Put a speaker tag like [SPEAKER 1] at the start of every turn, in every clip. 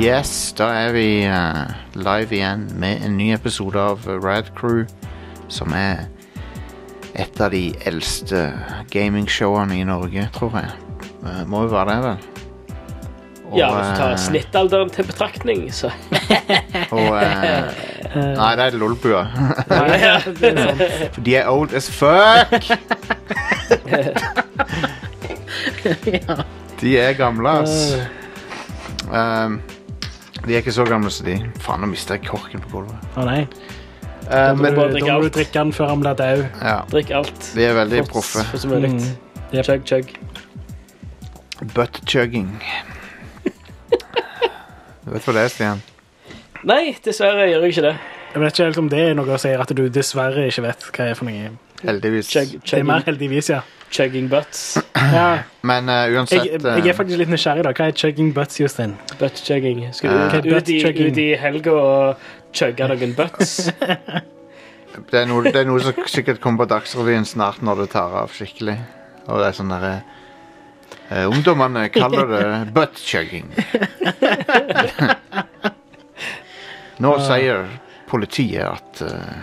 [SPEAKER 1] Yes, da er vi eh, live igjen med en ny episode av Rad Crew, som er et av de eldste gamingshowene i Norge, tror jeg. Eh, må jo være det, vel? Og,
[SPEAKER 2] Ja, hvis du
[SPEAKER 1] eh,
[SPEAKER 2] tar snittalderen til betraktning, så
[SPEAKER 1] og, eh, nei, det er lolbua.
[SPEAKER 3] det er sant.
[SPEAKER 1] For de er old as fuck! De er gamle, ass. Um, de er ikke så gamle som de. Faen, nå mista jeg korken på gulvet.
[SPEAKER 3] Å nei.
[SPEAKER 1] Eh, Mm.
[SPEAKER 3] Da må
[SPEAKER 1] men
[SPEAKER 3] du,
[SPEAKER 2] bare drikke
[SPEAKER 3] da må du
[SPEAKER 2] alt.
[SPEAKER 3] drikke den før han blir død.
[SPEAKER 1] ja,
[SPEAKER 2] drikk alt.
[SPEAKER 1] de er veldig proffe.
[SPEAKER 2] For så mulig.
[SPEAKER 3] Mm. Jep.
[SPEAKER 2] Chug, chug.
[SPEAKER 1] Butt chugging. Du vet hva det er, Stian?
[SPEAKER 2] Nei, dessverre gjør jeg ikke det.
[SPEAKER 3] Jeg vet ikke helt om det er noe å si at du dessverre ikke vet hva det er for noe.
[SPEAKER 1] Heldigvis.
[SPEAKER 2] Chug,
[SPEAKER 3] Det er
[SPEAKER 2] chugging,
[SPEAKER 3] mer heldigvis, ja.
[SPEAKER 2] chugging butts.
[SPEAKER 3] ja
[SPEAKER 1] Men eh, uansett
[SPEAKER 3] jeg, jeg
[SPEAKER 1] eh,
[SPEAKER 3] er faktisk litt nysgjerrig, da. Hva er chugging butts, Justin?
[SPEAKER 2] Butt chugging. Skal
[SPEAKER 1] Eh.
[SPEAKER 2] du
[SPEAKER 3] Ok,
[SPEAKER 2] ut, ut, i,
[SPEAKER 3] butt-chugging.
[SPEAKER 2] ut i helga og chugge noen butts?
[SPEAKER 1] det, er noe, det er noe som sikkert kommer på Dagsrevyen snart når det tar av skikkelig. Og det er sånn derre eh, Ungdommene kaller det butt chugging. Nå sier politiet at eh,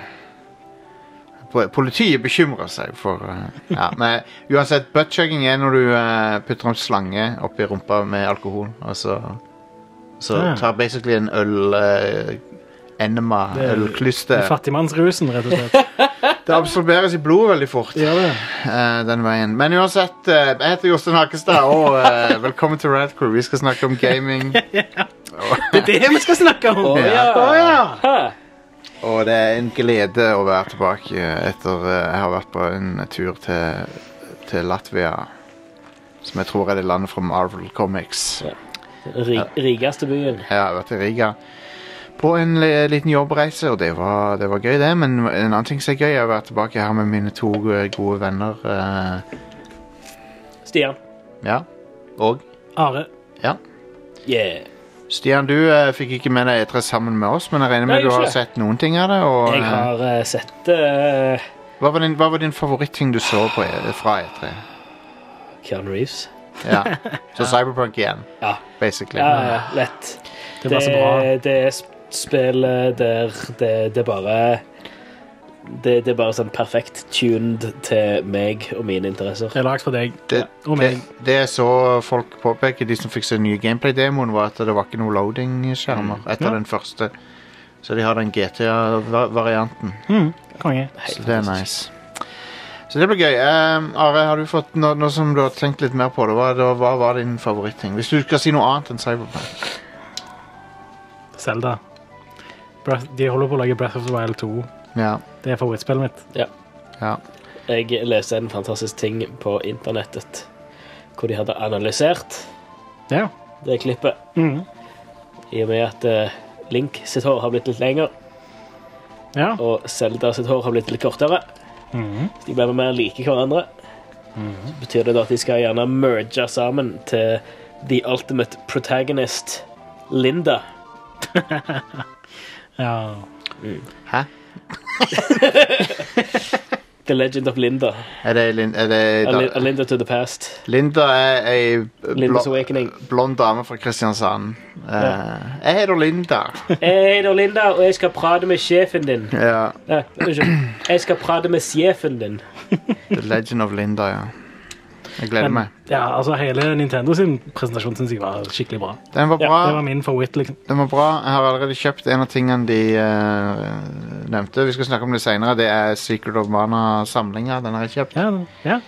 [SPEAKER 1] po- Politiet bekymrer seg for eh, ja, Men uansett, butt chugging er når du eh, putter en slange oppi rumpa med alkohol, og så Så
[SPEAKER 3] Ah.
[SPEAKER 1] tar basically en øl eh, Enema,
[SPEAKER 3] Det er-
[SPEAKER 1] ølklyste.
[SPEAKER 3] Fattigmannsrusen, rett og slett.
[SPEAKER 1] Det absorberes i blodet veldig fort
[SPEAKER 3] Gjør det.
[SPEAKER 1] eh, den veien. Men uansett, eh, jeg heter Jostein Hakestad, og eh, velkommen til Rad Crew. Vi skal snakke om gaming,
[SPEAKER 3] Det er det vi skal snakke om!
[SPEAKER 2] Å, ja.
[SPEAKER 3] Å, ja.
[SPEAKER 2] Ha.
[SPEAKER 1] og det er en glede å være tilbake eh, etter eh, jeg har vært på en tur til, til Latvia. Som jeg tror er det landet fra Marvel Comics.
[SPEAKER 2] Ri, rikeste byen.
[SPEAKER 1] Jeg har vært i Riga på en li- liten jobbreise, og det var, det var gøy, det. Men en annen ting som er gøy, er å være tilbake her med mine to eh, gode venner. eh,
[SPEAKER 2] Stian.
[SPEAKER 1] ja, og
[SPEAKER 3] Are.
[SPEAKER 1] Ja.
[SPEAKER 2] Yeah.
[SPEAKER 1] Stian, du eh, fikk ikke med deg E3 sammen med oss, men jeg regner
[SPEAKER 2] Nei,
[SPEAKER 1] med du har
[SPEAKER 2] ikke.
[SPEAKER 1] sett noen ting av det. Og,
[SPEAKER 2] Jeg
[SPEAKER 1] eh,
[SPEAKER 2] har eh, sett eh,
[SPEAKER 1] hva, var din, hva var din favoritting du så på, E- fra E3?
[SPEAKER 2] Keanu Reeves.
[SPEAKER 1] Ja. Så Cyberpunk igjen,
[SPEAKER 2] Ja,
[SPEAKER 1] basically.
[SPEAKER 2] ja, ja lett.
[SPEAKER 3] Det var så bra.
[SPEAKER 2] Det, det er sp- spillet der det, det er bare det, det er bare sånn perfekt tuned til meg og mine interesser.
[SPEAKER 3] Det er lagd for deg.
[SPEAKER 1] Det,
[SPEAKER 3] Og
[SPEAKER 1] det,
[SPEAKER 3] meg.
[SPEAKER 1] det jeg så folk påpeke, de som fikk se den nye gameplay-demoen, var at det var ikke noe
[SPEAKER 2] Mm.
[SPEAKER 1] loading-skjermer etter
[SPEAKER 3] Ja.
[SPEAKER 1] den første. Så de har den GTA-varianten.
[SPEAKER 3] Mm, konge.
[SPEAKER 1] Så det er nice. Så det blir gøy. Um, Are, har du fått nå, nå som du har tenkt litt mer på det, hva, da- hva var din favoritting? Hvis du skal si noe annet enn Cyberpunk.
[SPEAKER 3] Zelda. Breath, de holder på å lage Breath of the Wild 2.
[SPEAKER 1] Ja,
[SPEAKER 3] Det er favorittspillet mitt.
[SPEAKER 1] ja.
[SPEAKER 2] Jeg leste en fantastisk ting på internettet hvor de hadde analysert
[SPEAKER 3] Ja.
[SPEAKER 2] det klippet.
[SPEAKER 3] Mm.
[SPEAKER 2] I og med at eh, Link sitt hår har blitt litt lenger,
[SPEAKER 3] Ja.
[SPEAKER 2] og Zelda sitt hår har blitt litt kortere.
[SPEAKER 3] Mm.
[SPEAKER 2] De blir mer like hverandre.
[SPEAKER 3] Hmm.
[SPEAKER 2] Så betyr det da at de skal gjerne merge sammen til The Ultimate Protagonist Linda.
[SPEAKER 3] ja.
[SPEAKER 1] Hæ?
[SPEAKER 2] The Legend of Linda.
[SPEAKER 1] Er det, Lin er det
[SPEAKER 2] A, Lin- a
[SPEAKER 1] da,
[SPEAKER 2] Linda to the Past.
[SPEAKER 1] Linda er ei
[SPEAKER 2] Lindas
[SPEAKER 1] blå-
[SPEAKER 2] Awakening.
[SPEAKER 1] blond dame fra Kristiansand. Eh, jeg heter Linda.
[SPEAKER 2] Jeg heter Linda, og jeg skal prate med sjefen din.
[SPEAKER 1] ja,
[SPEAKER 2] Nei, unnskyld. Jeg skal prate med sjefen din.
[SPEAKER 1] The Legend of Linda, ja. Jeg gleder
[SPEAKER 3] Men,
[SPEAKER 1] meg.
[SPEAKER 3] ja, altså Hele Nintendo sin presentasjon syns jeg var skikkelig bra.
[SPEAKER 1] Den var
[SPEAKER 2] ja,
[SPEAKER 1] bra.
[SPEAKER 3] Det var min favoritt. liksom.
[SPEAKER 1] Den var bra. Jeg har allerede kjøpt en av tingene de eh, nevnte. Vi skal snakke om det senere. Det er Secret of Mana-samlinga. Den har jeg kjøpt.
[SPEAKER 3] Ja, ja.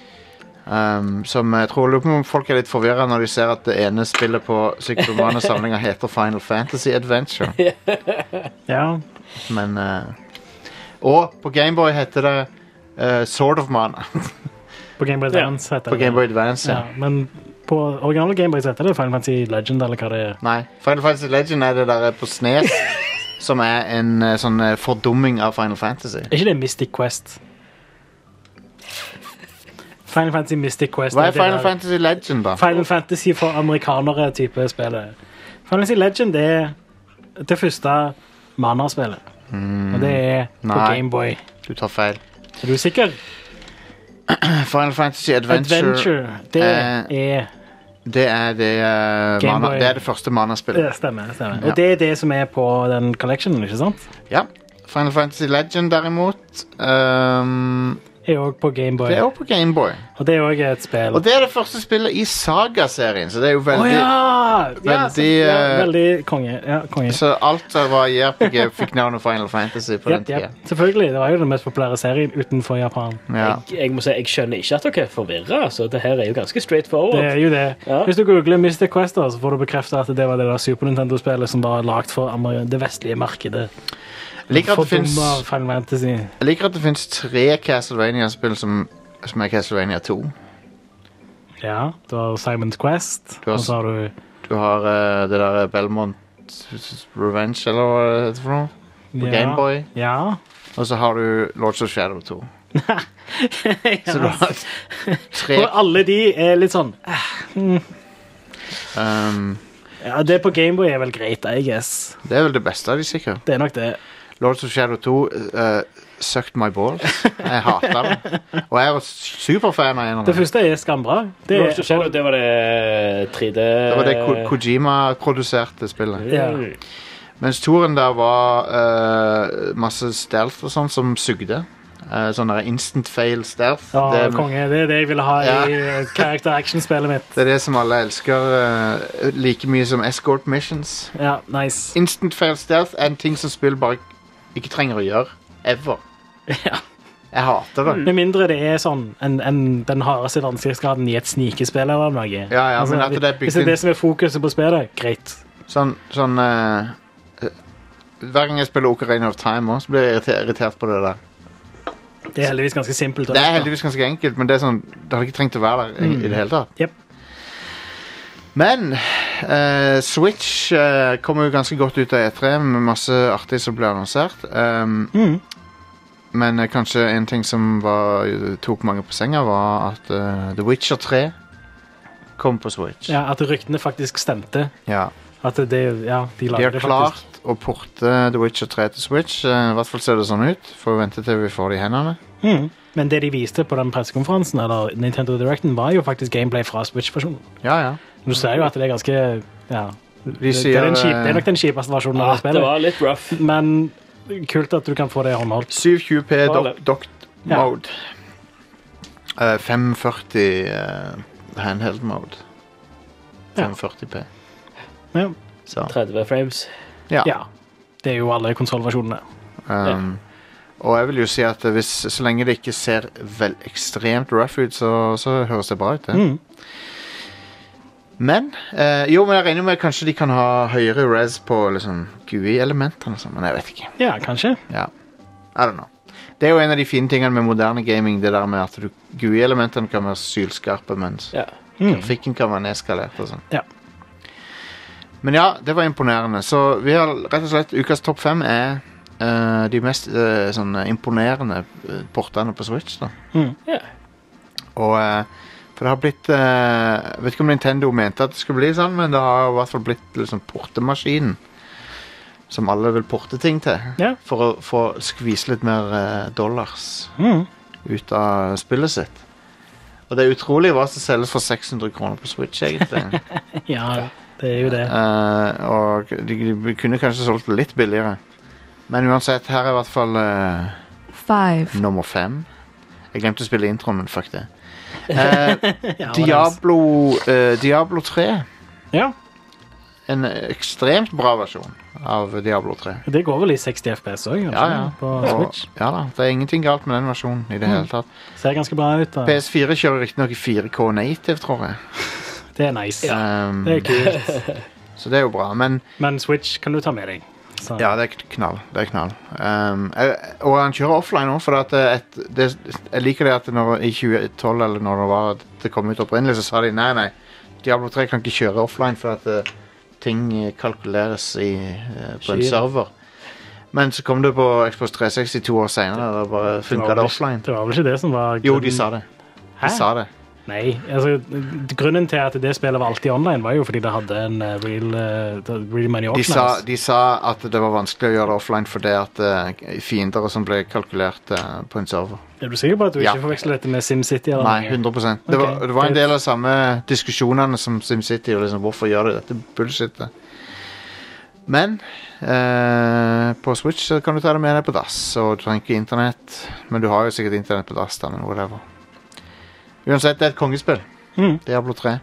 [SPEAKER 1] Um, som jeg tror lurer på om folk er litt forvirra når de ser at det ene spillet på Secret of Mana-samlinga heter Final Fantasy Adventure.
[SPEAKER 3] ja.
[SPEAKER 1] Men eh, Og på Gameboy heter det eh, Sword of Mana.
[SPEAKER 3] På Gameboy
[SPEAKER 2] Ja.
[SPEAKER 3] Advance heter
[SPEAKER 1] på
[SPEAKER 3] det.
[SPEAKER 1] Gameboy Advance. Ja.
[SPEAKER 3] Ja, men på originale Gameboy heter det Final Fantasy Legend, eller hva det er.
[SPEAKER 1] Nei, Final Fantasy Legend er det der på Snes. som er en eh, sånn eh, fordumming av Final Fantasy.
[SPEAKER 3] Er ikke det Mystic Quest? Final Fantasy Mystic Quest.
[SPEAKER 1] Hva er
[SPEAKER 3] det
[SPEAKER 1] Final
[SPEAKER 3] der-
[SPEAKER 1] Fantasy Legend, da?
[SPEAKER 3] Final Fantasy for amerikanere-type spillet. Final Fantasy Legend er det første Mana-spillet. Og det er på
[SPEAKER 1] Mm, Nei.
[SPEAKER 3] Gameboy.
[SPEAKER 1] Du tar feil.
[SPEAKER 3] Er du sikker?
[SPEAKER 1] Final Fantasy Adventure,
[SPEAKER 3] Adventure. Det
[SPEAKER 1] Eh,
[SPEAKER 3] er
[SPEAKER 1] Det er det, eh,
[SPEAKER 3] Game
[SPEAKER 1] mana,
[SPEAKER 3] Boy.
[SPEAKER 1] det, er det første Mana-spillet.
[SPEAKER 3] Det stemmer. stemmer.
[SPEAKER 1] Ja.
[SPEAKER 3] Og det er det som er på den collectionen, ikke sant?
[SPEAKER 1] Ja. Final Fantasy Legend, derimot, ehm,
[SPEAKER 3] Er òg på Gameboy.
[SPEAKER 1] det er jo på Gameboy.
[SPEAKER 3] Og det er òg et spill.
[SPEAKER 1] Og det er det første spillet i Saga-serien, så det er jo
[SPEAKER 3] Å
[SPEAKER 1] veldig
[SPEAKER 3] ja! Ja, så-
[SPEAKER 1] veldig,
[SPEAKER 3] ja,
[SPEAKER 1] eh,
[SPEAKER 3] veldig konge. Ja, konge.
[SPEAKER 1] Så alt som var i RPG, fikk navnet Final Fantasy på den
[SPEAKER 3] Jep,
[SPEAKER 1] tida.
[SPEAKER 3] jep. Selvfølgelig. Det var jo den mest populære serien utenfor Japan.
[SPEAKER 1] Ja.
[SPEAKER 2] Jeg, jeg må si, jeg skjønner ikke at dere er forvirra. Så det her er jo ganske straight
[SPEAKER 3] Det
[SPEAKER 2] forward.
[SPEAKER 3] er jo det.
[SPEAKER 2] Ja.
[SPEAKER 3] Hvis du googler Mystic Quest, da, så får du bekrefta at det var det der Super Nintendo-spillet som var lagd for amer- det vestlige markedet.
[SPEAKER 1] Jeg liker at det finnes-
[SPEAKER 3] Fordummer Final Fantasy.
[SPEAKER 1] jeg liker at det fins tre Castlevania-spill som, som er Castlevania 2.
[SPEAKER 3] Ja, du har Simons Quest,
[SPEAKER 1] Du har-
[SPEAKER 3] og så har du
[SPEAKER 1] Du har eh, det der Belmont Revenge, eller hva det heter for noe, på
[SPEAKER 3] ja.
[SPEAKER 1] Gameboy.
[SPEAKER 3] Ja.
[SPEAKER 1] Og så har du Lords of Shadow 2. Så du har tre
[SPEAKER 3] Og alle de er litt sånn
[SPEAKER 1] um,
[SPEAKER 3] Ja, det på Gameboy er vel greit, I guess.
[SPEAKER 1] Det er vel det beste av de, sikkert.
[SPEAKER 3] Det er nok det.
[SPEAKER 1] Lords of Shadow 2 eh, sucked my balls. Jeg hater det. Og jeg var superfan av en av
[SPEAKER 3] Det
[SPEAKER 1] dem.
[SPEAKER 3] første er skambra. Det
[SPEAKER 2] Det,
[SPEAKER 3] er,
[SPEAKER 2] Lords of Shadow, det var det 3D
[SPEAKER 1] Det var det
[SPEAKER 3] Eh.
[SPEAKER 1] Ko- Kojima produserte spillet.
[SPEAKER 3] Ja.
[SPEAKER 2] Mm.
[SPEAKER 1] Mens toren der var eh, masse stealth og sånn som sugde. Uh, sånn der instant fail stealth.
[SPEAKER 3] Ja,
[SPEAKER 1] det,
[SPEAKER 3] konge. Det er det jeg ville ha
[SPEAKER 1] Ja.
[SPEAKER 3] i eh, character action-spillet mitt.
[SPEAKER 1] det er det som alle elsker eh, like mye som escort missions.
[SPEAKER 3] Ja, nice.
[SPEAKER 1] Instant fail stealth er en ting som spill bare ikke trenger å gjøre. Ever.
[SPEAKER 3] Ja. Mm.
[SPEAKER 1] Jeg hater det.
[SPEAKER 3] Med mindre det er sånn en, en, den hardeste vanskelighetsgraden i et snikespill eller noe. Altså,
[SPEAKER 1] Ja, ja, men at det er bygd
[SPEAKER 3] hvis det
[SPEAKER 1] inn-
[SPEAKER 3] er det som er fokuset på spillet, greit.
[SPEAKER 1] Sånn, sånn eh, eh, Hver gang jeg spiller Ocarina of Time også, så blir jeg irriter- irritert på det der.
[SPEAKER 3] Det er heldigvis ganske simpelt.
[SPEAKER 1] Det er heldigvis ganske enkelt, men det er sånn, det hadde ikke trengt å være der i, i det hele tatt.
[SPEAKER 3] Mm. Jep.
[SPEAKER 1] Men eh, Switch eh, kommer jo ganske godt ut av E3 med masse artig som ble annonsert. Um,
[SPEAKER 3] Mm.
[SPEAKER 1] Men eh, kanskje en ting som var, tok mange på senga, var at eh, The Witcher 3 kom på Switch.
[SPEAKER 3] Ja, at ryktene faktisk stemte.
[SPEAKER 1] Ja.
[SPEAKER 3] At det, ja, de
[SPEAKER 1] De
[SPEAKER 3] lager
[SPEAKER 1] har
[SPEAKER 3] det faktisk.
[SPEAKER 1] klart å porte The Witcher 3 til Switch. eh, I hvert fall ser det sånn ut. Får vente til vi får det i hendene.
[SPEAKER 3] Mm. Men det de viste på den pressekonferansen, eller Nintendo Directen, var jo faktisk gameplay fra Switch-versjonen.
[SPEAKER 1] Ja, ja.
[SPEAKER 3] Du ser jo at det er ganske ja,
[SPEAKER 1] De
[SPEAKER 3] det, er
[SPEAKER 1] sier
[SPEAKER 3] den kjip, det er
[SPEAKER 1] eh,
[SPEAKER 3] nok den kjipeste versjonen
[SPEAKER 2] Ja,
[SPEAKER 3] av det
[SPEAKER 2] Ah, det
[SPEAKER 3] spillet.
[SPEAKER 2] var litt rough.
[SPEAKER 3] Men kult at du kan få det håndholdt.
[SPEAKER 1] 720P dock, dock
[SPEAKER 3] Ja.
[SPEAKER 1] mode. Eh, 540 eh, handheld mode.
[SPEAKER 3] Ja.
[SPEAKER 1] 540P.
[SPEAKER 3] Ja.
[SPEAKER 1] Så
[SPEAKER 2] 30 frames.
[SPEAKER 1] ja.
[SPEAKER 3] ja. Det er jo alle konsollversjonene.
[SPEAKER 1] Um, Og jeg vil jo si at hvis, så lenge det ikke ser vel ekstremt rough ut, så, så høres det bra ut. Det.
[SPEAKER 3] Mm.
[SPEAKER 1] Men eh, jo, men jeg regner med kanskje de kan ha høyere res på liksom, GUI-elementene. og sånn, Men jeg vet ikke.
[SPEAKER 3] Ja, kanskje.
[SPEAKER 1] Ja. I don't know. Det er jo en av de fine tingene med moderne gaming, det der med at du- GUI-elementene kan være sylskarpe, mens
[SPEAKER 2] Ja.
[SPEAKER 3] Mm.
[SPEAKER 1] grafikken kan være nedskalert og sånn.
[SPEAKER 3] Ja.
[SPEAKER 1] Men ja, det var imponerende. Så vi har rett og slett ukas topp fem er eh, de mest eh, sånn imponerende eh, portene på Switch. da.
[SPEAKER 3] Mm.
[SPEAKER 2] Ja.
[SPEAKER 1] Og eh, For det har blitt eh, Jeg vet ikke om Nintendo mente at det skulle bli sånn, men det har i hvert fall blitt liksom portemaskinen. Som alle vil porte ting til.
[SPEAKER 3] Ja.
[SPEAKER 1] For å få skvise litt mer eh, dollars
[SPEAKER 3] Mm.
[SPEAKER 1] ut av spillet sitt. Og det er utrolig hva som selges for 600 kroner på Switch, egentlig.
[SPEAKER 3] Ja, det er jo det.
[SPEAKER 1] Eh, og de, de kunne kanskje solgt det litt billigere. Men uansett, her er i hvert fall eh,
[SPEAKER 4] five,
[SPEAKER 1] nummer fem. Jeg glemte å spille introen, men fuck det. Eh,
[SPEAKER 3] Ja,
[SPEAKER 1] Diablo, eh, Diablo 3.
[SPEAKER 3] Ja,
[SPEAKER 1] En ekstremt bra versjon av Diablo 3.
[SPEAKER 3] det går vel i 60 FPS òg,
[SPEAKER 1] Ja, ja.
[SPEAKER 3] på
[SPEAKER 1] Og,
[SPEAKER 3] Switch. Mm.
[SPEAKER 1] ja da, Det er ingenting galt med den versjonen. i det hele tatt
[SPEAKER 3] Ser ganske bra ut. da.
[SPEAKER 1] PS4 kjører riktignok i 4K native, tror jeg.
[SPEAKER 3] Det er nice.
[SPEAKER 1] Um,
[SPEAKER 3] Det er kult.
[SPEAKER 1] så det er jo bra. Men
[SPEAKER 3] Men Switch kan du ta med deg. Så.
[SPEAKER 1] Ja, det er knall. Det er knall. Um, jeg, og han kjører offline òg, for at det, er et, det, jeg liker det at når, i 2012 eller når det var at det kom ut opprinnelig, så sa de nei, nei, Diablo 3 kan ikke kjøre offline for at eh, ting eh, kalkuleres i, eh, på en
[SPEAKER 2] Skyen.
[SPEAKER 1] server. Men så kom det på Xbox 360 to år seinere, og da bare
[SPEAKER 3] var
[SPEAKER 1] funka
[SPEAKER 3] vel-
[SPEAKER 1] det offline.
[SPEAKER 3] Det var vel ikke det som var
[SPEAKER 1] Jo, de sa det.
[SPEAKER 3] Hæ?
[SPEAKER 1] De sa det.
[SPEAKER 3] Nei, altså Grunnen til at det spillet var alltid online, var jo fordi det hadde en eh, real, eh, det- real money
[SPEAKER 1] De
[SPEAKER 3] options.
[SPEAKER 1] sa, de sa at det var vanskelig å gjøre det offline fordi at eh, fiender og sånn ble kalkulert eh, på en server.
[SPEAKER 3] Er du sikker på at du
[SPEAKER 1] Ja.
[SPEAKER 3] ikke forveksler dette med SimCity? Eller
[SPEAKER 1] Nei,
[SPEAKER 3] noe?
[SPEAKER 1] 100 det var,
[SPEAKER 3] Ok,
[SPEAKER 1] det var en
[SPEAKER 3] greit.
[SPEAKER 1] del av samme diskusjonene som SimCity. Og liksom, hvorfor gjør de dette bullshitet? Men eh, på Switch så kan du ta det med deg på dass, og du trenger ikke internett. Men du har jo sikkert internett på dass, da, men whatever. Uansett, det er et kongespill.
[SPEAKER 3] Mhm.
[SPEAKER 1] Diablo 3.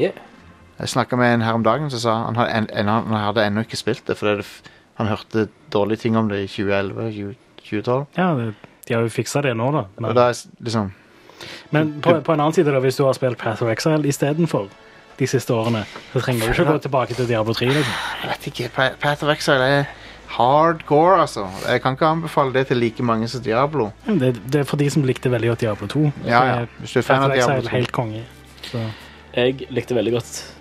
[SPEAKER 2] Yeah.
[SPEAKER 1] Jeg snakka med en her om dagen som sa han hadde, en, en, han hadde ennå ikke spilt det, fordi det, f- han hørte dårlige ting om det i 2011. 2012.
[SPEAKER 3] Ja, det- de har jo fiksa det nå, da.
[SPEAKER 1] Og
[SPEAKER 3] Men,
[SPEAKER 1] da er s- liksom
[SPEAKER 3] men på, på en annen side, da, hvis du har spilt Path of Exile istedenfor de siste årene, så trenger du ikke gå tilbake til Diablo 3. Liksom.
[SPEAKER 1] Jeg vet ikke. Pa- Path of Exile er hardcore, altså. Jeg kan ikke anbefale det til like mange som Diablo.
[SPEAKER 2] Altså,
[SPEAKER 3] Men Det, det er for de som likte veldig godt Diablo 2. så
[SPEAKER 1] Ja, ja.
[SPEAKER 3] er
[SPEAKER 1] Hvis du er fan
[SPEAKER 3] Path
[SPEAKER 1] av
[SPEAKER 3] of
[SPEAKER 1] Diablo
[SPEAKER 3] Exile
[SPEAKER 1] 2.
[SPEAKER 3] helt konge. Så.
[SPEAKER 2] Jeg likte veldig godt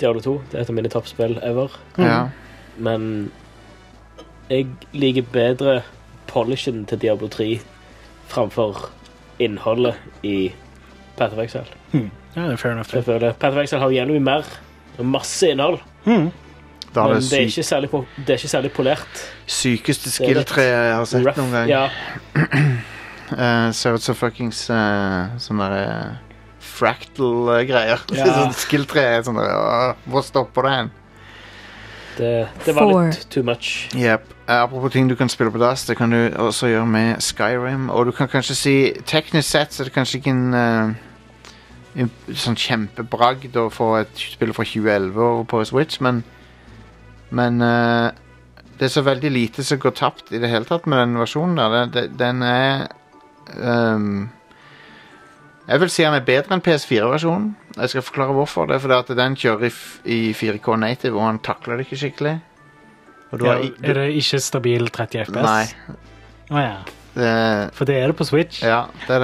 [SPEAKER 2] Diablo 2. Det er et av mine toppspill ever.
[SPEAKER 1] Ja.
[SPEAKER 2] Men jeg liker bedre polishen til Diablo 3 framfor innholdet i Path of Exile.
[SPEAKER 3] Ja, det er fair enough.
[SPEAKER 2] Jeg føler Path of Exile har jævlig mye mer. og Masse innhold.
[SPEAKER 3] Mm.
[SPEAKER 1] Da har
[SPEAKER 2] men
[SPEAKER 1] det
[SPEAKER 2] det er,
[SPEAKER 1] syk
[SPEAKER 2] ikke særlig po det er ikke særlig polert.
[SPEAKER 1] sykeste
[SPEAKER 2] er litt
[SPEAKER 1] skill-treet jeg har sett
[SPEAKER 2] Rough.
[SPEAKER 1] noen gang.
[SPEAKER 2] Ja,
[SPEAKER 1] Eh, ser ut som fuckings eh, sånne der, eh, fractal-greier.
[SPEAKER 2] Ja.
[SPEAKER 1] Sånn Skill-tre er sånn der «Åh, Hvor stopper det hen?
[SPEAKER 2] det, det var
[SPEAKER 4] Four.
[SPEAKER 2] litt too much.
[SPEAKER 1] Yep. Eh, Apropos ting du kan spille på dass, det kan du også gjøre med Skyrim. Og du kan kanskje si Teknisk sett så er det kanskje ikke en, eh, en sånn kjempebragd å få et spill fra 2011 over på Switch, men Men eh, det er så veldig lite som går tapt i det hele tatt med den versjonen der. Den, den- den er ehm, Jeg vil si den er bedre enn PS4-versjonen. Jeg skal forklare hvorfor. Det er fordi at den kjører i, f i 4K native, og han takler det ikke skikkelig. Og du
[SPEAKER 3] Ja,
[SPEAKER 1] har i-
[SPEAKER 3] er det ikke stabil 30 FPS?
[SPEAKER 1] Nei.
[SPEAKER 3] Å ja.
[SPEAKER 1] Det,
[SPEAKER 3] For det er det på Switch.
[SPEAKER 1] ja, det er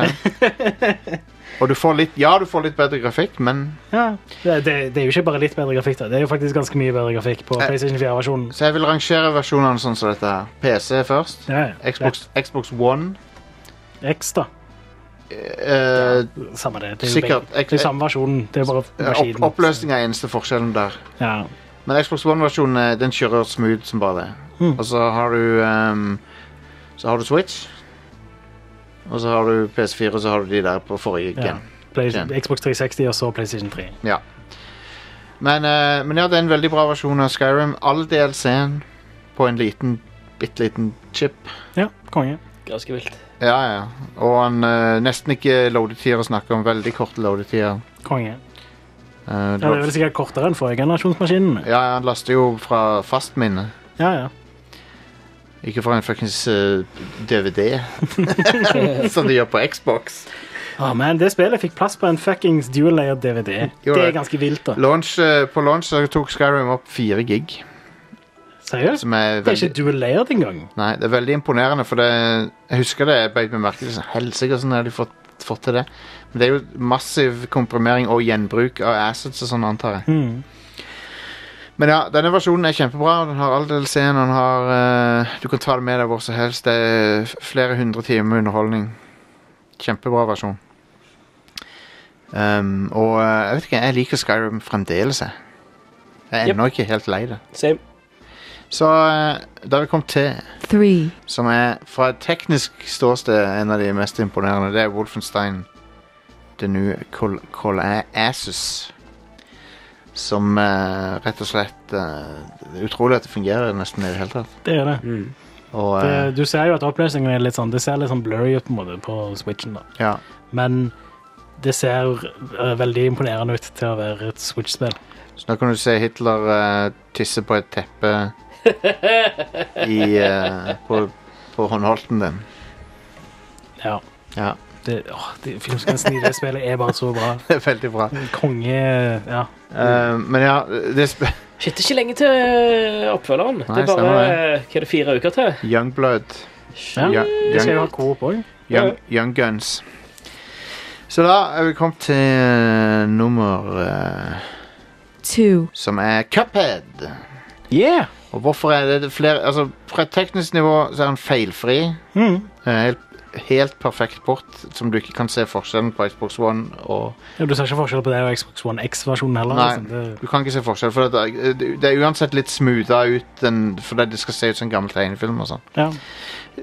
[SPEAKER 1] det. Og du får litt Ja, du får litt bedre grafikk, men
[SPEAKER 3] Ja, det, det, det er jo ikke bare litt bedre grafikk, da. Det er jo faktisk ganske mye bedre grafikk på
[SPEAKER 1] Eh.
[SPEAKER 3] PlayStation 4-versjonen.
[SPEAKER 1] Så jeg vil rangere versjonene sånn som dette her. PC først.
[SPEAKER 3] Ja, ja.
[SPEAKER 1] Xbox, Xbox One.
[SPEAKER 3] Ja, X, da.
[SPEAKER 1] Eh,
[SPEAKER 3] Samme det. Det er jo
[SPEAKER 1] sikkert.
[SPEAKER 3] begge- det er samme versjonen. Det er bare
[SPEAKER 1] opp,
[SPEAKER 3] maskinen.
[SPEAKER 1] oppløsning er eneste forskjellen der.
[SPEAKER 3] Ja.
[SPEAKER 1] Men Xbox One-versjonen eh, den kjører smooth som bare det.
[SPEAKER 3] Mm.
[SPEAKER 1] Og så har du ehm, Så har du Switch. Og så har du PS4, og så har du de der på forrige
[SPEAKER 3] Ja.
[SPEAKER 1] gen.
[SPEAKER 3] Play,
[SPEAKER 1] Gen.
[SPEAKER 3] Xbox 360 og så PlayStation 3.
[SPEAKER 1] Ja. Men, eh, men ja, det er en veldig bra versjon av Skyrim. All DLC-en på en liten, bitte liten chip.
[SPEAKER 3] Ja, konge.
[SPEAKER 2] Ganske vilt.
[SPEAKER 1] Ja, ja. Og han eh, nesten ikke loadetider å snakke om. Veldig korte loadetider.
[SPEAKER 3] Konge.
[SPEAKER 1] Eh, det
[SPEAKER 3] Ja, det
[SPEAKER 1] var-
[SPEAKER 3] er vel sikkert kortere enn forrige generasjonsmaskinen.
[SPEAKER 1] ja, han laster jo fra fastminne.
[SPEAKER 3] Ja, ja.
[SPEAKER 1] Ikke fra en fuckings eh, DVD, som de gjør på Xbox.
[SPEAKER 3] Å, Ah, men det spillet fikk plass på en fuckings dual layer DVD.
[SPEAKER 1] Jo,
[SPEAKER 3] det
[SPEAKER 1] det.
[SPEAKER 3] er ganske vilt, da.
[SPEAKER 1] Launch, eh, på launch så tok Skyrim opp fire gig.
[SPEAKER 3] Seriøst?
[SPEAKER 1] Som er
[SPEAKER 3] Det er ikke
[SPEAKER 1] veldig,
[SPEAKER 3] dual layer engang.
[SPEAKER 1] nei, det er veldig imponerende, for det, jeg husker det. Jeg beit meg merke i det. sånn, Helsike, hvordan har de fått, fått til det? Men det er jo massiv komprimering og gjenbruk av assets og sånn, antar jeg.
[SPEAKER 3] Hmm.
[SPEAKER 1] Men ja, denne versjonen er kjempebra. Den har all del scenen. Den har, eh, du kan ta det med deg hvor som helst. Det er f- flere hundre timer med underholdning. Kjempebra versjon. Um, og eh, jeg vet ikke, jeg liker Skyrim fremdeles, jeg. Jeg er
[SPEAKER 2] Yep.
[SPEAKER 1] ennå ikke helt lei det.
[SPEAKER 2] Same.
[SPEAKER 1] Så eh, da vi kom til,
[SPEAKER 4] three,
[SPEAKER 1] som er fra et teknisk ståsted en av de mest imponerende, det er Wolfenstein The New Col Colossus. Som eh, rett og slett eh, Det er utrolig at det fungerer nesten i det hele tatt.
[SPEAKER 3] Det er det.
[SPEAKER 2] Mm.
[SPEAKER 1] Og, eh,
[SPEAKER 3] det. Du ser jo at oppløsningen er litt sånn Det ser litt sånn blurry ut på en måte på Switchen, da.
[SPEAKER 1] eh, ja.
[SPEAKER 3] Men det ser eh, veldig imponerende ut til å være et Switch-spill.
[SPEAKER 1] Så nå kan du se Hitler eh, tisse på et teppe i, eh, på, på håndholten din.
[SPEAKER 3] Ja.
[SPEAKER 1] Ja,
[SPEAKER 3] Det, åh, det, filmsekvensen i det spillet er bare så bra.
[SPEAKER 1] det er veldig bra.
[SPEAKER 3] Konge Ja.
[SPEAKER 1] Eh, men ja, det sp
[SPEAKER 2] Shit, det er ikke lenge til eh, oppfølgeren.
[SPEAKER 1] Nei,
[SPEAKER 2] det er bare eh,
[SPEAKER 1] stemmer
[SPEAKER 2] hva er det, fire uker til.
[SPEAKER 1] Youngblood
[SPEAKER 3] ja.
[SPEAKER 1] Ja,
[SPEAKER 3] Det skal jo ha coop òg.
[SPEAKER 1] Young, Young Guns. Så da er vi kommet til eh, nummer eh,
[SPEAKER 4] two,
[SPEAKER 1] som er Cuphead.
[SPEAKER 3] Yeah!
[SPEAKER 1] Og hvorfor er det flere Altså, fra et teknisk nivå så er han feilfri.
[SPEAKER 3] Mm.
[SPEAKER 1] Eh, Helt helt perfekt port som du ikke kan se forskjellen på Xbox One og
[SPEAKER 3] Ja, du ser ikke forskjell på det og Xbox One X-versjonen heller.
[SPEAKER 1] Nei,
[SPEAKER 3] Liksom. Det,
[SPEAKER 1] du kan ikke se forskjell. For det er, det er uansett litt smootha ut enn- fordi det skal se ut som gammel tegnefilm. og sånn.
[SPEAKER 3] ja.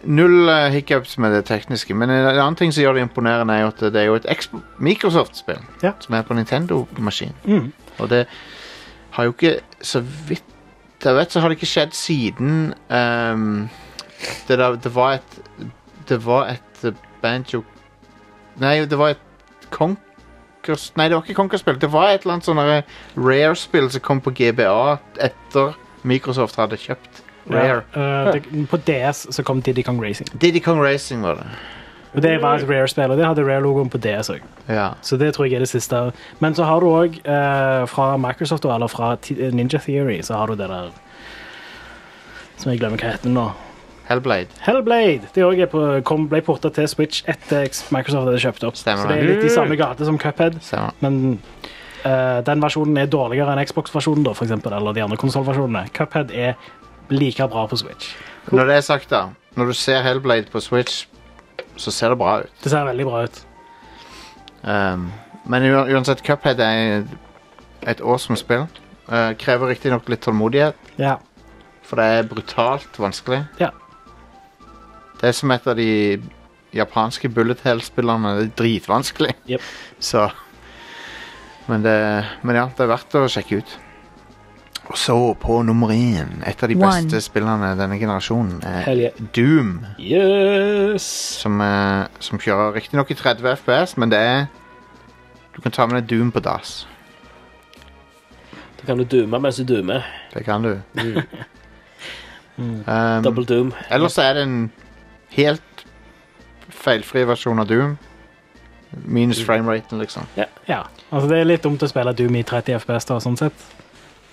[SPEAKER 1] Null eh, hiccups med det tekniske. Men en annen ting som gjør det imponerende, er jo at det er jo et Ex- Microsoft-spill
[SPEAKER 3] Ja.
[SPEAKER 1] som er på Nintendo-maskin.
[SPEAKER 3] Mm.
[SPEAKER 1] Og det har jo ikke Så vidt jeg vet, så har det ikke skjedd siden ehm, det, der, det var et Det var et eh, banjo Nei, det var et Conkers Nei, det var ikke Conker-spill. Det var et eller annet sånn derre Rare-spill som kom på GBA etter Microsoft hadde kjøpt Rare.
[SPEAKER 3] Ja, eh, det, på DS så kom Diddy Kong Racing.
[SPEAKER 1] Diddy Kong Racing var det.
[SPEAKER 3] Og Det var et
[SPEAKER 1] Mm.
[SPEAKER 3] Rare-spill, og det hadde Rare-logoen på DS òg.
[SPEAKER 1] Ja.
[SPEAKER 3] Så det tror jeg er det siste. Men så har du òg eh, fra Microsoft, eller fra T Ninja Theory, så har du det der Som jeg glemmer hva heter nå.
[SPEAKER 1] Hellblade.
[SPEAKER 3] Hellblade! Det òg er på- kom- ble porta til Switch etter X- Microsoft hadde kjøpt opp.
[SPEAKER 1] Stemmer
[SPEAKER 3] så det er
[SPEAKER 1] det.
[SPEAKER 3] litt i samme gate som Cuphead,
[SPEAKER 1] Stemmer.
[SPEAKER 3] men eh, den versjonen er dårligere enn Xbox-versjonen, da, for eksempel, eller de andre konsollversjonene. Cuphead er like bra på Switch.
[SPEAKER 1] Når det er sagt, da Når du ser Hellblade på Switch, så ser det bra ut.
[SPEAKER 3] Det ser veldig bra ut.
[SPEAKER 1] Um, men u- uansett, Cuphead er et awesome spill. Uh, krever riktignok litt tålmodighet,
[SPEAKER 3] Ja.
[SPEAKER 1] for det er brutalt vanskelig.
[SPEAKER 3] Ja.
[SPEAKER 1] Det er som et av de japanske bullet hell-spillene. Det er dritvanskelig.
[SPEAKER 2] Jep.
[SPEAKER 1] Så men, det, men ja, det er verdt å sjekke ut. Og så, på nummer én, et av de
[SPEAKER 4] One.
[SPEAKER 1] beste spillene denne generasjonen, er
[SPEAKER 2] Hell yeah.
[SPEAKER 1] Doom.
[SPEAKER 2] Yes!
[SPEAKER 1] Som, eh, som kjører riktignok i 30 FPS, men det er Du kan ta med deg Doom på dass.
[SPEAKER 2] Da kan du dume mens du dumer.
[SPEAKER 1] Det kan du. um,
[SPEAKER 2] Mm. Double doom.
[SPEAKER 1] ellers er det en helt feilfri versjon av Doom.
[SPEAKER 2] Mm.
[SPEAKER 1] Minus frameraten, liksom.
[SPEAKER 3] ja. Altså, det er litt dumt å spille Doom i 30 FPS, da, sånn sett.